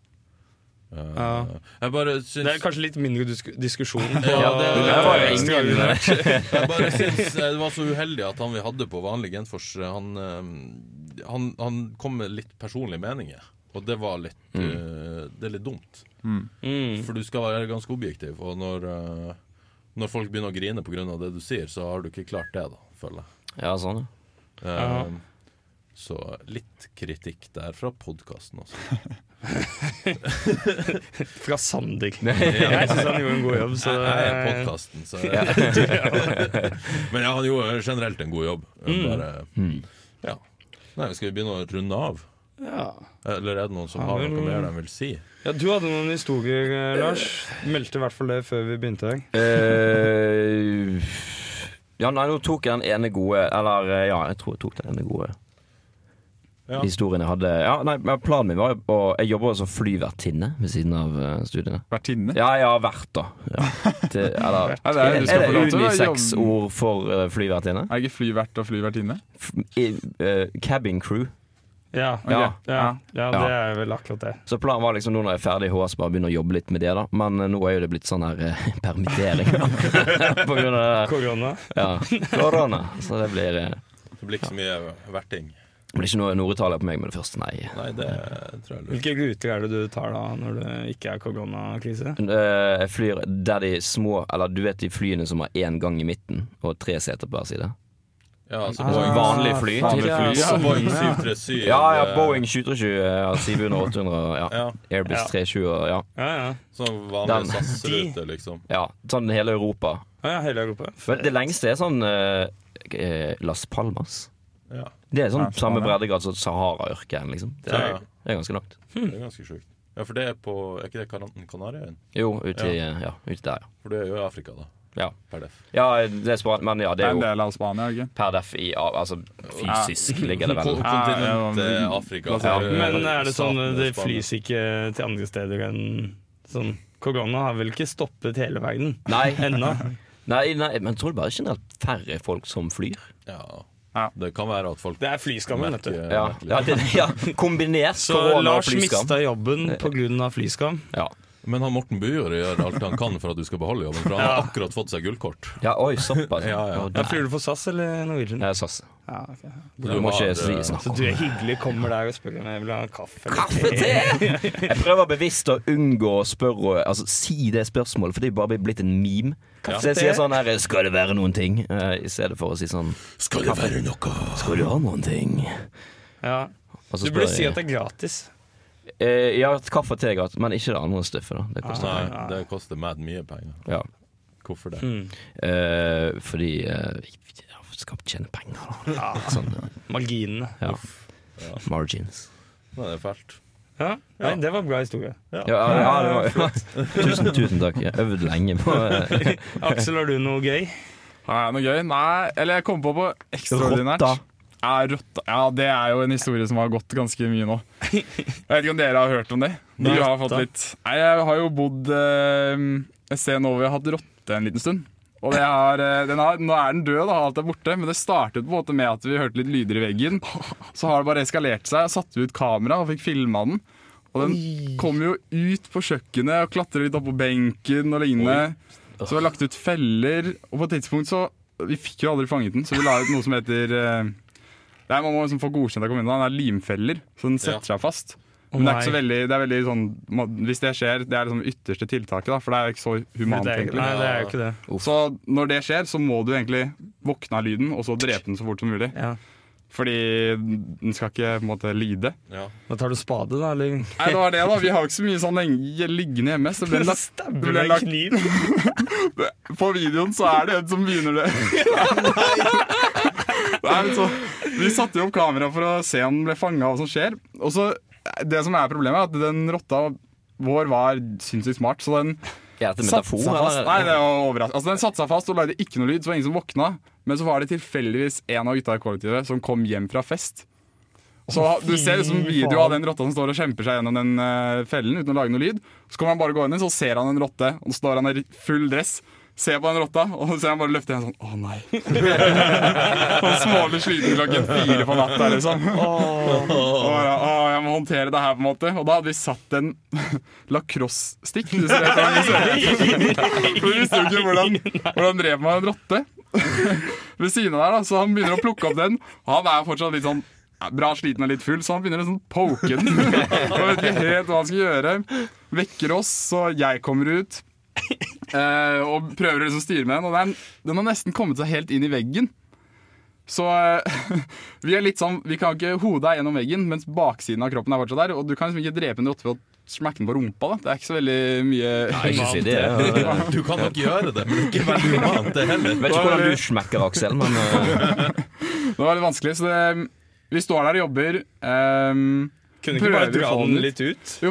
Speaker 1: Eh,
Speaker 3: Ja.
Speaker 1: Jeg bare
Speaker 3: Det er
Speaker 1: syns
Speaker 3: kanskje litt mindre disk diskusjon. På
Speaker 1: Ja, det-
Speaker 3: på
Speaker 1: det var jo
Speaker 3: ekstraordinære.
Speaker 1: Jeg bare syns eh, det var så uheldig at han vi hadde på vanlig Genfors, eh, han, eh, han, han kom med litt personlige meninger. Og det var litt eh, Det er litt dumt.
Speaker 3: Mm.
Speaker 1: For du skal være ganske objektiv, og når, eh, når folk begynner å grine pga. det du sier, så har du ikke klart det, da, føler jeg.
Speaker 2: ja, sånn. ja.
Speaker 1: Eh, Så litt kritikk der fra podkasten også.
Speaker 3: Fra Sander. Jeg syns han gjorde en god jobb, så
Speaker 1: Jeg jeg altså, er podkasten, så Men ja, han gjorde generelt en god jobb.
Speaker 2: Mm.
Speaker 1: Bare, ja. Nei, Skal vi begynne å runde av?
Speaker 3: ja.
Speaker 1: Eller er det noen som
Speaker 3: Ja,
Speaker 1: har
Speaker 3: vel,
Speaker 1: noe mer de vil si?
Speaker 3: ja, du hadde noen historier, eh, Lars. Meldte i hvert fall det før vi begynte her.
Speaker 2: Eh, ja, nei, nå tok jeg den ene gode Eller eh, ja, jeg tror jeg tok den ene gode
Speaker 1: Ja.
Speaker 2: historien jeg hadde. Ja, nei, men Planen min var jo å Jeg jobber som flyvertinne ved siden av eh, studiene.
Speaker 4: Vertinne.
Speaker 2: Ja, jeg har vært, da. Ja. Til, eller,
Speaker 4: Ja, det er- du skal
Speaker 2: er,
Speaker 4: få
Speaker 2: det
Speaker 4: lov til å jobbe-
Speaker 2: unisex-ord for eh, flyvertinne?
Speaker 4: Er det ikke flyvert og flyvertinne?
Speaker 2: F- i- eh, cabin crew.
Speaker 3: Ja,
Speaker 4: Ok.
Speaker 2: Ja.
Speaker 3: ja, ja,
Speaker 2: Ja.
Speaker 3: det er vel akkurat det.
Speaker 2: Så planen var liksom nå når jeg er ferdig i HS, bare begynne å jobbe litt med det, da. Men eh, nå er jo det blitt sånn her eh, permittering på grunn av det der.
Speaker 3: Korona.
Speaker 2: Ja, korona. Så det blir eh,
Speaker 1: Det blir ikke så mye verting.
Speaker 2: Det blir ikke noe Nord-Italia på meg med det første, nei.
Speaker 1: Nei, det tror jeg er lurt.
Speaker 3: Hvilke ruter er det du tar da når det ikke er koronakrise?
Speaker 2: Eh, Jeg flyr der de små Eller du vet de flyene som har én gang i midten og tre seter på hver side?
Speaker 1: Ja, altså
Speaker 3: Ah,
Speaker 1: Boeing,
Speaker 2: Vanlig fly.
Speaker 4: vanlig fly,
Speaker 2: Ja,
Speaker 4: ja.
Speaker 1: så Boeing 737
Speaker 2: ja, ja
Speaker 1: eh,
Speaker 2: Boeing 737, ja, 700, 800, ja.
Speaker 1: Ja,
Speaker 2: Airbus
Speaker 3: Ja.
Speaker 2: 320 og ja.
Speaker 3: Ja, ja.
Speaker 1: Sånn
Speaker 2: Den.
Speaker 1: vanlig SAS-rute, liksom.
Speaker 2: ja. Sånn hele Europa.
Speaker 3: Å ja, hele Europa.
Speaker 2: Men det lengste er sånn eh, eh, Las Palmas.
Speaker 1: Ja,
Speaker 2: Det er sånn
Speaker 4: Ja, faen,
Speaker 2: samme
Speaker 4: ja.
Speaker 2: breddegrad som Sahara-ørkenen, liksom. Det
Speaker 1: Ja, ja.
Speaker 2: er, det er ganske langt.
Speaker 1: det er ganske sjukt. Ja, for det er på Er ikke det Karan- Kanariøyene?
Speaker 2: Jo, ute i, eh, ja, ute der, ja.
Speaker 1: For det er jo i Afrika, da.
Speaker 2: Ja,
Speaker 1: Per def.
Speaker 2: ja det er Span men ja, det
Speaker 4: Det er
Speaker 2: er
Speaker 4: en
Speaker 2: jo
Speaker 4: del av Spania, ikke
Speaker 2: per def i ja, Altså fysisk ligger det vel
Speaker 1: Kon-
Speaker 4: Ja, ja,
Speaker 1: Kontinent
Speaker 4: men-
Speaker 1: eh, Afrika. Eh,
Speaker 4: Ja,
Speaker 1: så
Speaker 3: Men er det sånn
Speaker 1: staten
Speaker 3: det
Speaker 1: Spania.
Speaker 3: flys ikke til andre steder enn sånn Korona har vel ikke stoppet hele verden
Speaker 2: Nei,
Speaker 3: ennå?
Speaker 2: Nei, nei, men tror du bare generelt færre folk som flyr?
Speaker 1: Ja.
Speaker 4: Ja.
Speaker 1: Det kan være at folk
Speaker 3: Det er flyskammel, vet
Speaker 1: merker
Speaker 3: du.
Speaker 2: Ja,
Speaker 1: merker
Speaker 2: ja,
Speaker 1: litt.
Speaker 2: det, ja kombinert
Speaker 3: Så
Speaker 2: korona og
Speaker 3: Lars
Speaker 2: flyskam. Eh,
Speaker 3: mista jobben pga. flyskam.
Speaker 2: Ja.
Speaker 1: Men han Morten Bujord gjør alt han kan for at du skal beholde jobben, for han har akkurat fått seg gullkort.
Speaker 2: ja, oi, såpass.
Speaker 1: Ja, ja.
Speaker 2: Å,
Speaker 3: Ja,
Speaker 2: nei.
Speaker 3: Flyr du for SAS eller Norwegian?
Speaker 2: Jeg er SAS.
Speaker 3: Ja, ok.
Speaker 2: Du må
Speaker 1: har,
Speaker 2: ikke
Speaker 1: eh,
Speaker 2: sli- snakke
Speaker 3: Så
Speaker 2: om
Speaker 3: du
Speaker 2: det.
Speaker 3: er hyggelig, kommer der og spør om jeg vil ha en kaffe. eller
Speaker 2: Kaffe til! Jeg prøver bevisst å unngå å spørre Altså si det spørsmålet, for det er jo bare blitt en meme. Så jeg sier
Speaker 3: te?
Speaker 2: sånn her 'Skal det være noen ting?' eh, i stedet for å si sånn
Speaker 1: Skal det være noe
Speaker 2: 'Skal du ha noen ting?'
Speaker 3: Ja.
Speaker 2: Og så
Speaker 3: Du
Speaker 2: spør
Speaker 3: burde si
Speaker 2: jeg-
Speaker 3: at det er gratis.
Speaker 2: eh, Ja, kaffe og te er gratis, men ikke det andre stuffet, da. Det koster
Speaker 1: Nei,
Speaker 2: penger.
Speaker 1: det koster mad mye penger.
Speaker 2: Ja.
Speaker 1: Hvorfor det?
Speaker 2: Mm. Eh, fordi eh, jeg skal tjene penger, da.
Speaker 3: Ja.
Speaker 2: Sånn,
Speaker 3: Marginene.
Speaker 2: ja. Margins.
Speaker 1: Nei, det er fælt.
Speaker 3: Ja. Nei, det var en bra historie.
Speaker 2: Ja, ja, det var, tusen, tusen takk. Jeg øvde lenge på eh,
Speaker 3: Aksel, har du noe gøy?
Speaker 4: Har jeg noe gøy? Nei, eller jeg kom på på ekstraordinært.
Speaker 2: Rotta.
Speaker 4: Ja, rotta. Ja, det er jo en historie som har gått ganske mye nå. Jeg vet ikke om dere har hørt om det? Du
Speaker 3: Nei.
Speaker 4: har fått litt Nei, jeg har jo bodd eh, et sted nå hvor jeg har hatt rotte en liten stund. Og det har, eh, den har, nå er den død, da, alt er borte, men det startet på en måte med at vi hørte litt lyder i veggen. Så har det bare eskalert seg. Satte vi ut kamera og fikk filma den. Og den kom jo ut på kjøkkenet og klatret litt opp på benken og lignende. Så vi har lagt ut feller, og på et tidspunkt så Vi fikk jo aldri fanget den, så vi la ut noe som heter eh, Nei, Man må liksom få godkjent av kommunen. Den er limfeller, så den setter seg fast. Men det er
Speaker 3: nei.
Speaker 4: ikke så veldig, det er veldig sånn, man- hvis det skjer, det er liksom ytterste tiltaket, da, for det er jo ikke så humant.
Speaker 3: Det er,
Speaker 4: egentlig.
Speaker 3: nei, det er jo ikke det.
Speaker 4: Så når det skjer, så må du egentlig våkne av lyden, og så drepe den så fort som mulig.
Speaker 3: Ja.
Speaker 4: Fordi den skal ikke på en måte lide.
Speaker 1: Ja.
Speaker 3: Da tar du spade, da, eller?
Speaker 4: Nei, det var det, da. Vi har jo ikke så mye sånn lenge- liggende hjemme. Så den,
Speaker 3: Stabber
Speaker 4: ble
Speaker 3: deg
Speaker 4: lagt-
Speaker 3: kniv.
Speaker 4: på videoen så er det en som begynner det. Nei, men så, vi satte jo opp kamera for å se om den ble fanga, og hva som skjer. Og så, det som er problemet, er at den rotta vår var sinnssykt smart, så den
Speaker 2: Er dette
Speaker 4: satte
Speaker 2: metafor,
Speaker 4: seg fast.
Speaker 2: eller?
Speaker 4: Nei, det var overraskende. Altså, den satte seg fast og lagde ikke noe lyd, så var det ingen som våkna. Men så var det tilfeldigvis en av gutta i kollektivet som kom hjem fra fest. Så Du ser liksom video av den rotta som står og kjemper seg gjennom den eh, fellen uten å lage noe lyd. Så kommer han bare gå inn, i, så ser han en rotte, og så står han i full dress. Ser på den rotta, og så ser han bare løfte hendene sånn Å, nei. Han smålig sliten klokken fire på natta, liksom. Og bare, å, jeg må håndtere det her, på en måte. Og da hadde vi satt en lacrosse-stikk. hvis dere vet hva det ser ut. For vi visste jo ikke hvordan, hvordan drev man en rotte ved siden av der. da Så han begynner å plukke opp den. Og han er fortsatt litt sånn ja, bra sliten og litt full, så han begynner å sånn poke den. Og vet ikke helt hva han skal gjøre. Vekker oss, så jeg kommer ut. Eh, og prøver å liksom styre med den. Og den, den har nesten kommet seg helt inn i veggen. Så eh, vi er litt sånn Vi kan ikke Hodet er gjennom veggen, mens baksiden av kroppen er fortsatt der. Og du kan liksom ikke drepe en rotte ved å smekke den på rumpa. da Det er ikke så veldig mye
Speaker 2: Nei, ikke si det. ja. Jeg vet
Speaker 1: Du kan nok gjøre det, men det er ikke veldig humant, det heller.
Speaker 2: ikke hvordan du smekker, Aksel, men eh,
Speaker 4: Det var litt vanskelig, så det, vi står der og jobber. ehm,
Speaker 3: Kunne
Speaker 4: ikke bare dra den
Speaker 3: ut?
Speaker 4: jo,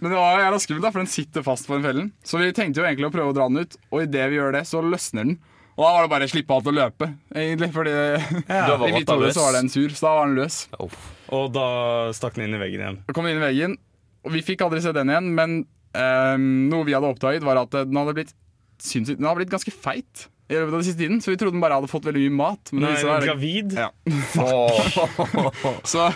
Speaker 4: men det var jævla skummelt, da, for den sitter fast på den fellen. Så vi tenkte jo egentlig å prøve å dra den ut, og idet vi gjør det, så løsner den. Og da var det bare å slippe alt og løpe, egentlig. Fordi
Speaker 2: Da var
Speaker 4: i mitt
Speaker 2: rotta
Speaker 4: hode
Speaker 2: løs.
Speaker 4: så var den sur, så da var den løs.
Speaker 2: uff.
Speaker 3: Og da stakk den inn i veggen igjen.
Speaker 4: Og kom inn i veggen, og vi fikk aldri se den igjen, men ehm, noe vi hadde oppdaget, var at eh, den hadde blitt, sinnssykt- den hadde blitt ganske feit i løpet av den siste tiden, så vi trodde den bare hadde fått veldig mye mat. Men
Speaker 3: Nå
Speaker 4: det
Speaker 3: er
Speaker 4: viste seg
Speaker 3: den
Speaker 4: å være-
Speaker 3: gravid.
Speaker 4: Ja. Så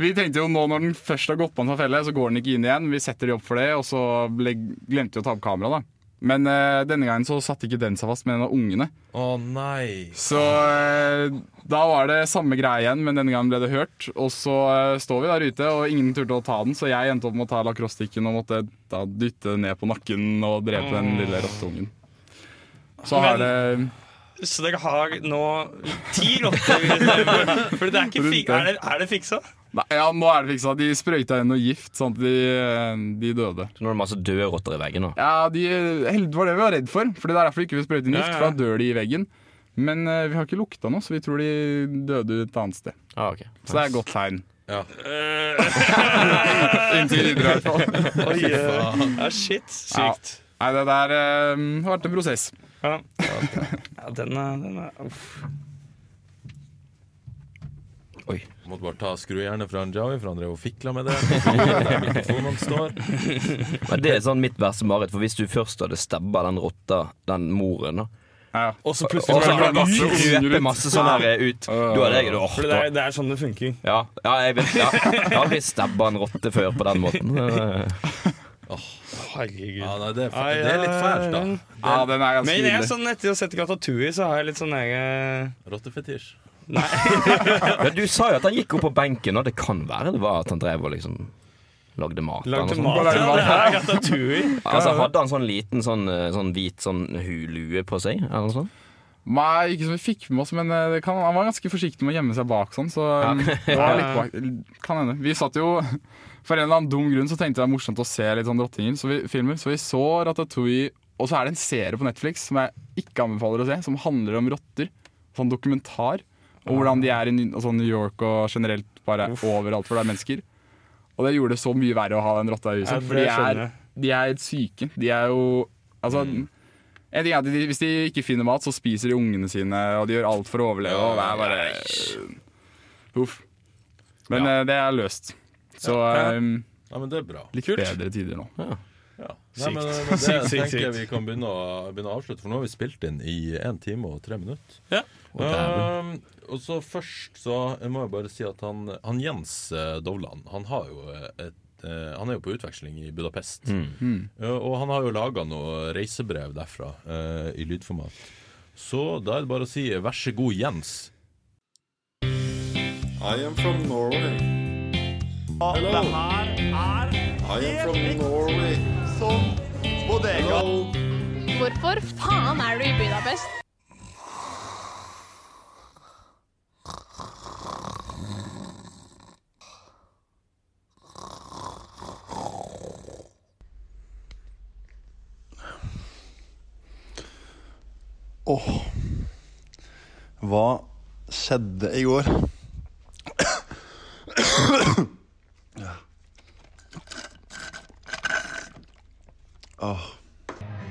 Speaker 4: vi tenkte jo nå når den først har gått på en sånn felle, så går den ikke inn igjen. Vi setter de opp for det, og så ble, glemte vi å ta opp kameraet, da. Men eh, denne gangen så satte ikke den seg fast med en av ungene.
Speaker 1: Å nei.
Speaker 4: Så eh, da var det samme greie igjen, men denne gangen ble det hørt. Og så eh, står vi der ute, og ingen turte å ta den, så jeg endte opp med å ta lacrosse-stikken og måtte da dytte den ned på nakken og drepe den lille rotteungen. Så har det
Speaker 3: Så dere har nå ti rotter? For det er, ikke fik
Speaker 4: Rundt der.
Speaker 3: er, det, er det fiksa?
Speaker 4: Nei, ja, nå er det fiksa. De sprøyta inn noe gift, sånn at de, eh, de døde.
Speaker 2: Så nå er det masse døde rotter i veggen nå.
Speaker 4: Ja, de, hel- det var det vi var redd for. Fordi Det er derfor vi ikke vil sprøyte inn gift,
Speaker 3: Ja, ja, ja.
Speaker 4: for da dør de i veggen. Men eh, vi har ikke lukta noe, så vi tror de døde et annet sted.
Speaker 2: Ah, ok.
Speaker 4: Så det er et godt tegn.
Speaker 1: Ja.
Speaker 3: Eh,
Speaker 4: Inntil videre, i hvert fall.
Speaker 3: Oi, eh, ja, shit. Sykt.
Speaker 4: Nei, det der eh, har vært en prosess.
Speaker 3: Ja, ja den er, den er uff.
Speaker 2: Oi.
Speaker 1: Måtte bare ta skrujernet fra en Jawi, for han drev og fikla med det. Der Mikrofonene står.
Speaker 2: Men det er sånn mitt verste mareritt, for hvis du først hadde stabba den rotta, den moren, da
Speaker 4: Ja, ja.
Speaker 3: Og så
Speaker 2: Og
Speaker 3: plutselig
Speaker 2: så
Speaker 4: så
Speaker 2: har
Speaker 4: er det
Speaker 2: du
Speaker 4: masse unger
Speaker 2: krøpet
Speaker 4: ut.
Speaker 2: masse sånn her ut. Da hadde jeg åh,
Speaker 3: For det,
Speaker 2: da-
Speaker 3: er- det er sånn det funker.
Speaker 2: ja, ja, jeg vet ja. Jeg har aldri stabba en rotte før på den måten.
Speaker 3: Herregud.
Speaker 1: Ja, nei, det, er, fa- det er litt fælt, da.
Speaker 4: ja, den er ganske
Speaker 3: Men jeg er
Speaker 4: ille.
Speaker 3: sånn etter å sette Ratatouille, så har jeg litt sånn jeg,
Speaker 1: Rottefetisj.
Speaker 2: Men du sa jo at han gikk opp på benken, og det kan være det var at han drev og liksom lagde mat. eller noe
Speaker 1: sånn
Speaker 3: Lagde
Speaker 2: sånt.
Speaker 3: mat. Ja, det er Ratatouille.
Speaker 2: Altså, hadde han sånn liten sånn, eh, sånn hvit sånn hu- lue på seg? Eller noe sånt?
Speaker 4: Nei, ikke som vi fikk med oss, men eh, det kan, han var ganske forsiktig med å gjemme seg bak sånn, så eh, det var litt bak, kan hende. Vi satt jo For en eller annen dum grunn så tenkte jeg det var morsomt å se litt sånn rottinger, så vi filmer. Så vi så Ratatouille, og så er det en serie på Netflix som jeg ikke anbefaler å se, som handler om rotter. Sånn dokumentar. Og hvordan de er i Ny- altså New York og generelt bare overalt hvor det er mennesker. Og det gjorde det så mye verre å ha den rotta i
Speaker 3: Ja,
Speaker 4: huset,
Speaker 3: det
Speaker 4: for de er,
Speaker 3: skjønner jeg. Mm.
Speaker 4: de er helt syke. De er jo Altså en ting er at de, Hvis de ikke finner mat, så spiser de ungene sine, og de gjør alt for å overleve. Og det er bare Uff. Men eh, det er løst. Så eh,
Speaker 1: Ja, men det er bra.
Speaker 4: litt bedre tider nå.
Speaker 1: Ja. Nei, men,
Speaker 3: Sykt.
Speaker 1: men det
Speaker 3: Sykt, sykt,
Speaker 1: tenker jeg
Speaker 3: sykt.
Speaker 1: vi kan begynne å, begynne å avslutte, for nå har vi spilt inn i én time og tre minutter.
Speaker 3: Ja.
Speaker 1: Um, og så først så må jeg bare si at han, han Jens eh, Dovland, han har jo et eh, han er jo på utveksling i Budapest,
Speaker 3: Mm.
Speaker 1: Eh, og han har jo laga noe reisebrev derfra eh, i lydformat. Så da er det bare å si 'vær så god, Jens'.
Speaker 5: I am from Norway.
Speaker 3: Det her er
Speaker 5: Hvorfor faen er du i Budapest?
Speaker 6: Åh. Hva skjedde i går?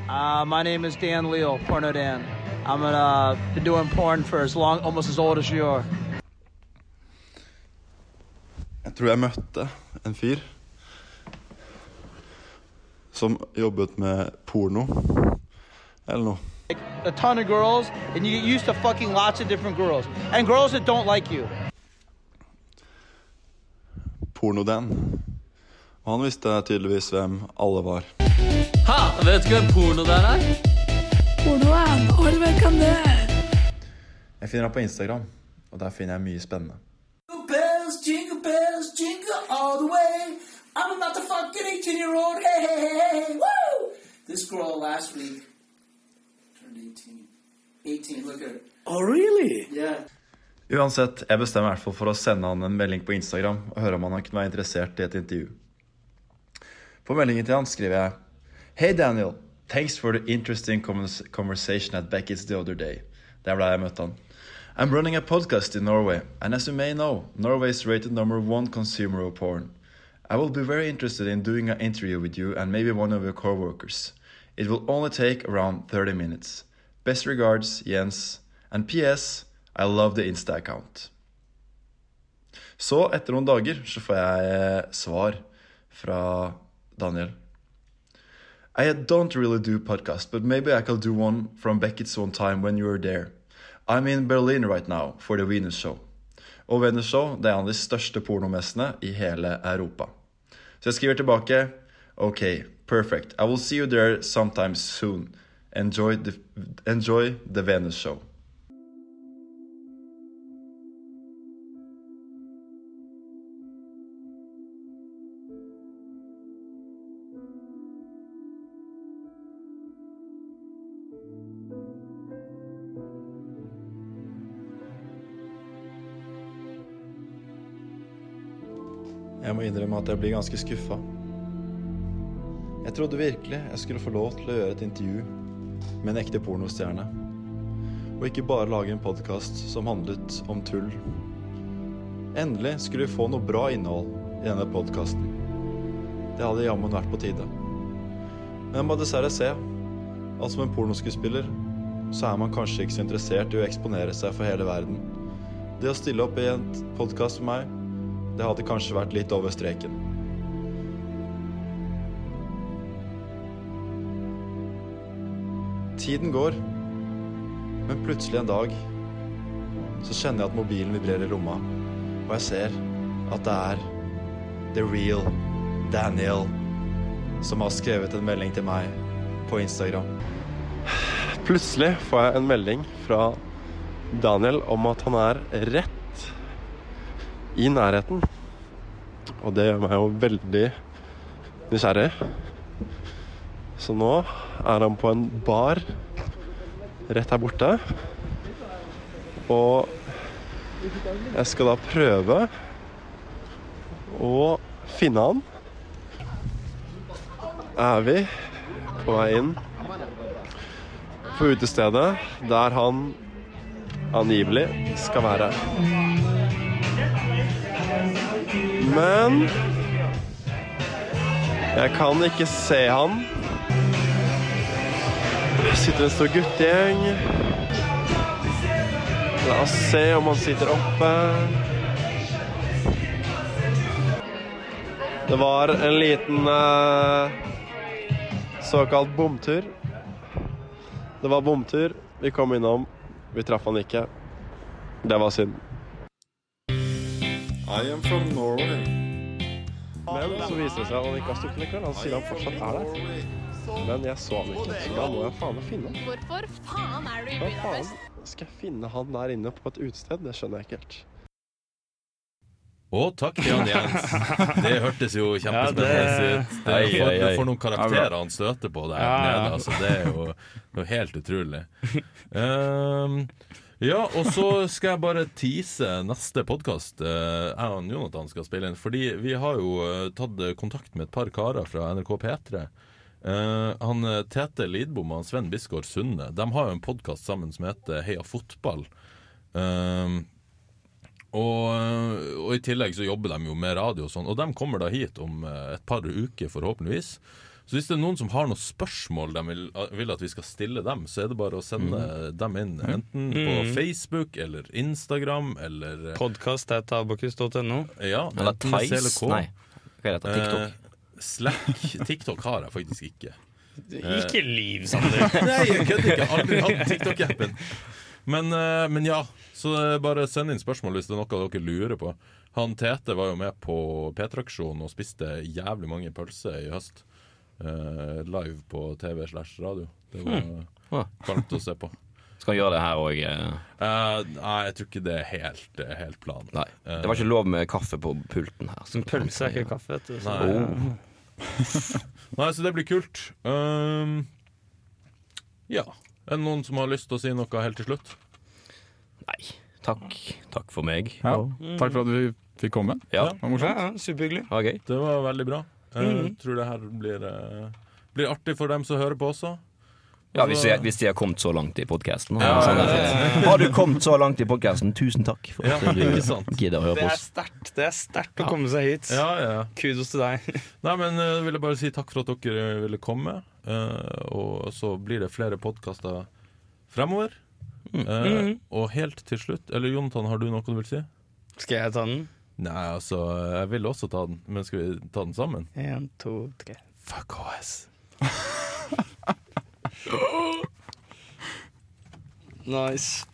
Speaker 7: Uh, my name is Dan Leal, Porno Dan. I'm gonna uh, been doing porn for as long, almost as old as you are.
Speaker 6: Jeg tror jeg møtte en fyr som jobbet med porno eller noe.
Speaker 7: Like, a ton of girls, and you get used to fucking lots of different girls, and girls that don't like you.
Speaker 6: Porno-Dan. Og han visste tydeligvis hvem alle var. Ha! Vet du hvem porno-Dan er? Porno-Dan, Orve kan det! Jeg finner ham på Instagram, og der finner jeg mye spennende. Uansett, jeg bestemmer i hvert fall for å sende han en melding på Instagram og høre om han kunne være interessert i et intervju. På meldingen til han skriver jeg Hei Daniel, thanks for the interesting convers- conversation at Beckett's the other day. Der ble jeg møtt han. I'm running a podcast in Norway, and as you may know, Norway is rated number one consumer of porn. I will be very interested in doing an interview with you and maybe one of your coworkers. It will only take around 30 minutes. Best regards, Jens. And PS, I love the Insta-account. Så etter noen dager så får jeg eh, svar fra Daniel. I don't really do podcast, but maybe I can do one from Beckett's one time when you were there. I'm in Berlin right now for the Venus Show. Og Venus Show det er en av de største pornomessene i hele Europa. Så jeg skriver tilbake Ok, perfect. I will see you there sometime soon. Enjoy the, enjoy the Venus Show. Jeg må innrømme at jeg blir ganske skuffa. Jeg trodde virkelig jeg skulle få lov til å gjøre et intervju med en ekte pornostjerne. Og ikke bare lage en podkast som handlet om tull. Endelig skulle vi få noe bra innhold i denne podkasten. Det hadde jammen vært på tide. Men jeg må dessverre se at som en pornoskuespiller så er man kanskje ikke så interessert i å eksponere seg for hele verden. Det å stille opp i en podkast for meg det hadde kanskje vært litt over streken. Tiden går, men plutselig en dag så kjenner jeg at mobilen vibrerer i lomma, og jeg ser at det er The Real Daniel som har skrevet en melding til meg på Instagram. Plutselig får jeg en melding fra Daniel om at han er rett i nærheten. Og det gjør meg jo veldig nysgjerrig. Så nå er han på en bar rett her borte. Og jeg skal da prøve å finne han. Er vi på vei inn på utestedet der han angivelig skal være. Men jeg kan ikke se han. Det sitter en stor guttegjeng. La oss se om han sitter oppe. Det var en liten eh, såkalt bomtur. Det var bomtur. Vi kom innom. Vi traff han ikke. Det var synd. I am from Norway. Men så viser det seg at han ikke har stukket likevel. Han sier han fortsatt er der. Men jeg så han ikke, så da må jeg faen meg finne han.
Speaker 5: Hvorfor faen er du i
Speaker 6: Hva faen
Speaker 5: Budapest?
Speaker 6: skal jeg finne han der inne på et utested? Det skjønner jeg ikke helt.
Speaker 1: Å, takk til han Jens. Det hørtes jo
Speaker 3: Ja,
Speaker 1: kjempespennende
Speaker 3: det-
Speaker 1: ut. Det er
Speaker 2: Ai, ai,
Speaker 1: for,
Speaker 2: ai.
Speaker 1: for noen karakterer han støter på der
Speaker 3: Ja, ja.
Speaker 1: nede. Altså, det er jo det er jo helt utrolig. Ehm, ja, og så skal jeg bare tease neste podkast jeg og Jonathan skal spille inn. Fordi vi har jo eh, tatt kontakt med et par karer fra NRK P3. Eh, han eh, Tete Lidbom og han Sven Bisgaard Sunde De har jo en podkast sammen som heter Heia fotball. Ehm, og, og i tillegg så jobber de jo med radio og sånn, og de kommer da hit om eh, et par uker forhåpentligvis. Så hvis det er noen som har noen spørsmål de vil, vil at vi skal stille dem, så er det bare å sende
Speaker 2: Mm.
Speaker 1: dem inn. Enten på Facebook eller Instagram eller eh,
Speaker 3: Podkast.abakus.no.
Speaker 1: ja,
Speaker 2: Eller
Speaker 1: enten med
Speaker 2: Theis?
Speaker 1: CLK.
Speaker 2: Nei. Hva er
Speaker 1: Eh,
Speaker 2: dette? TikTok?
Speaker 1: Slack. TikTok har jeg faktisk ikke. Eh,
Speaker 3: Ikke liv, Sander.
Speaker 1: Nei, jeg kødder ikke. Jeg har Aldri hatt TikTok-appen. Men, eh, men ja, så eh, bare send inn spørsmål hvis det er noe dere lurer på. Han Tete var jo med på P3-aksjonen og spiste jævlig mange pølser i høst. Eh, live på TV slash radio. Det var
Speaker 3: Hmm.
Speaker 2: Ah.
Speaker 1: varmt å se på.
Speaker 2: Skal han gjøre det her òg?
Speaker 1: Eh, nei, jeg tror ikke det er helt, eh, helt planen.
Speaker 2: Nei. Det var ikke lov med kaffe på pulten her. så-
Speaker 3: Som pølse er ikke kaffe. Vet du. Så-
Speaker 1: Nei. Nei, så det blir kult. Um, ja. Er det noen som har lyst til å si noe helt til slutt?
Speaker 2: Nei. Takk. Takk for meg.
Speaker 4: Ja. Takk for at vi fikk komme.
Speaker 2: Ja,
Speaker 1: Ja.
Speaker 4: Det var morsomt.
Speaker 3: Ja, ja, superhyggelig.
Speaker 2: det var gøy.
Speaker 1: Det var veldig bra. Jeg tror det her blir, eh, blir artig for dem som hører på også.
Speaker 2: Ja, hvis, jeg, hvis de har kommet så langt i podkasten.
Speaker 1: Ja,
Speaker 2: Sånn er det. har du kommet så langt i podkasten, tusen takk for at
Speaker 1: Ja,
Speaker 2: du
Speaker 1: ikke sant.
Speaker 2: gidder å høre
Speaker 3: Det
Speaker 2: på
Speaker 3: er
Speaker 2: oss.
Speaker 3: sterkt Det er sterkt å komme seg hit.
Speaker 1: Ja, ja.
Speaker 3: Kudos til deg.
Speaker 1: Nei, men eh, jeg ville bare si takk for at dere ville komme. eh, og så blir det flere podkaster fremover. Eh, og helt til slutt Eller Jonathan, har du noe du vil si?
Speaker 3: Skal jeg ta den?
Speaker 1: Nei, altså, jeg vil også ta den, men skal vi ta den sammen?
Speaker 3: En, to, tre.
Speaker 1: Fuck OS.
Speaker 3: Nice.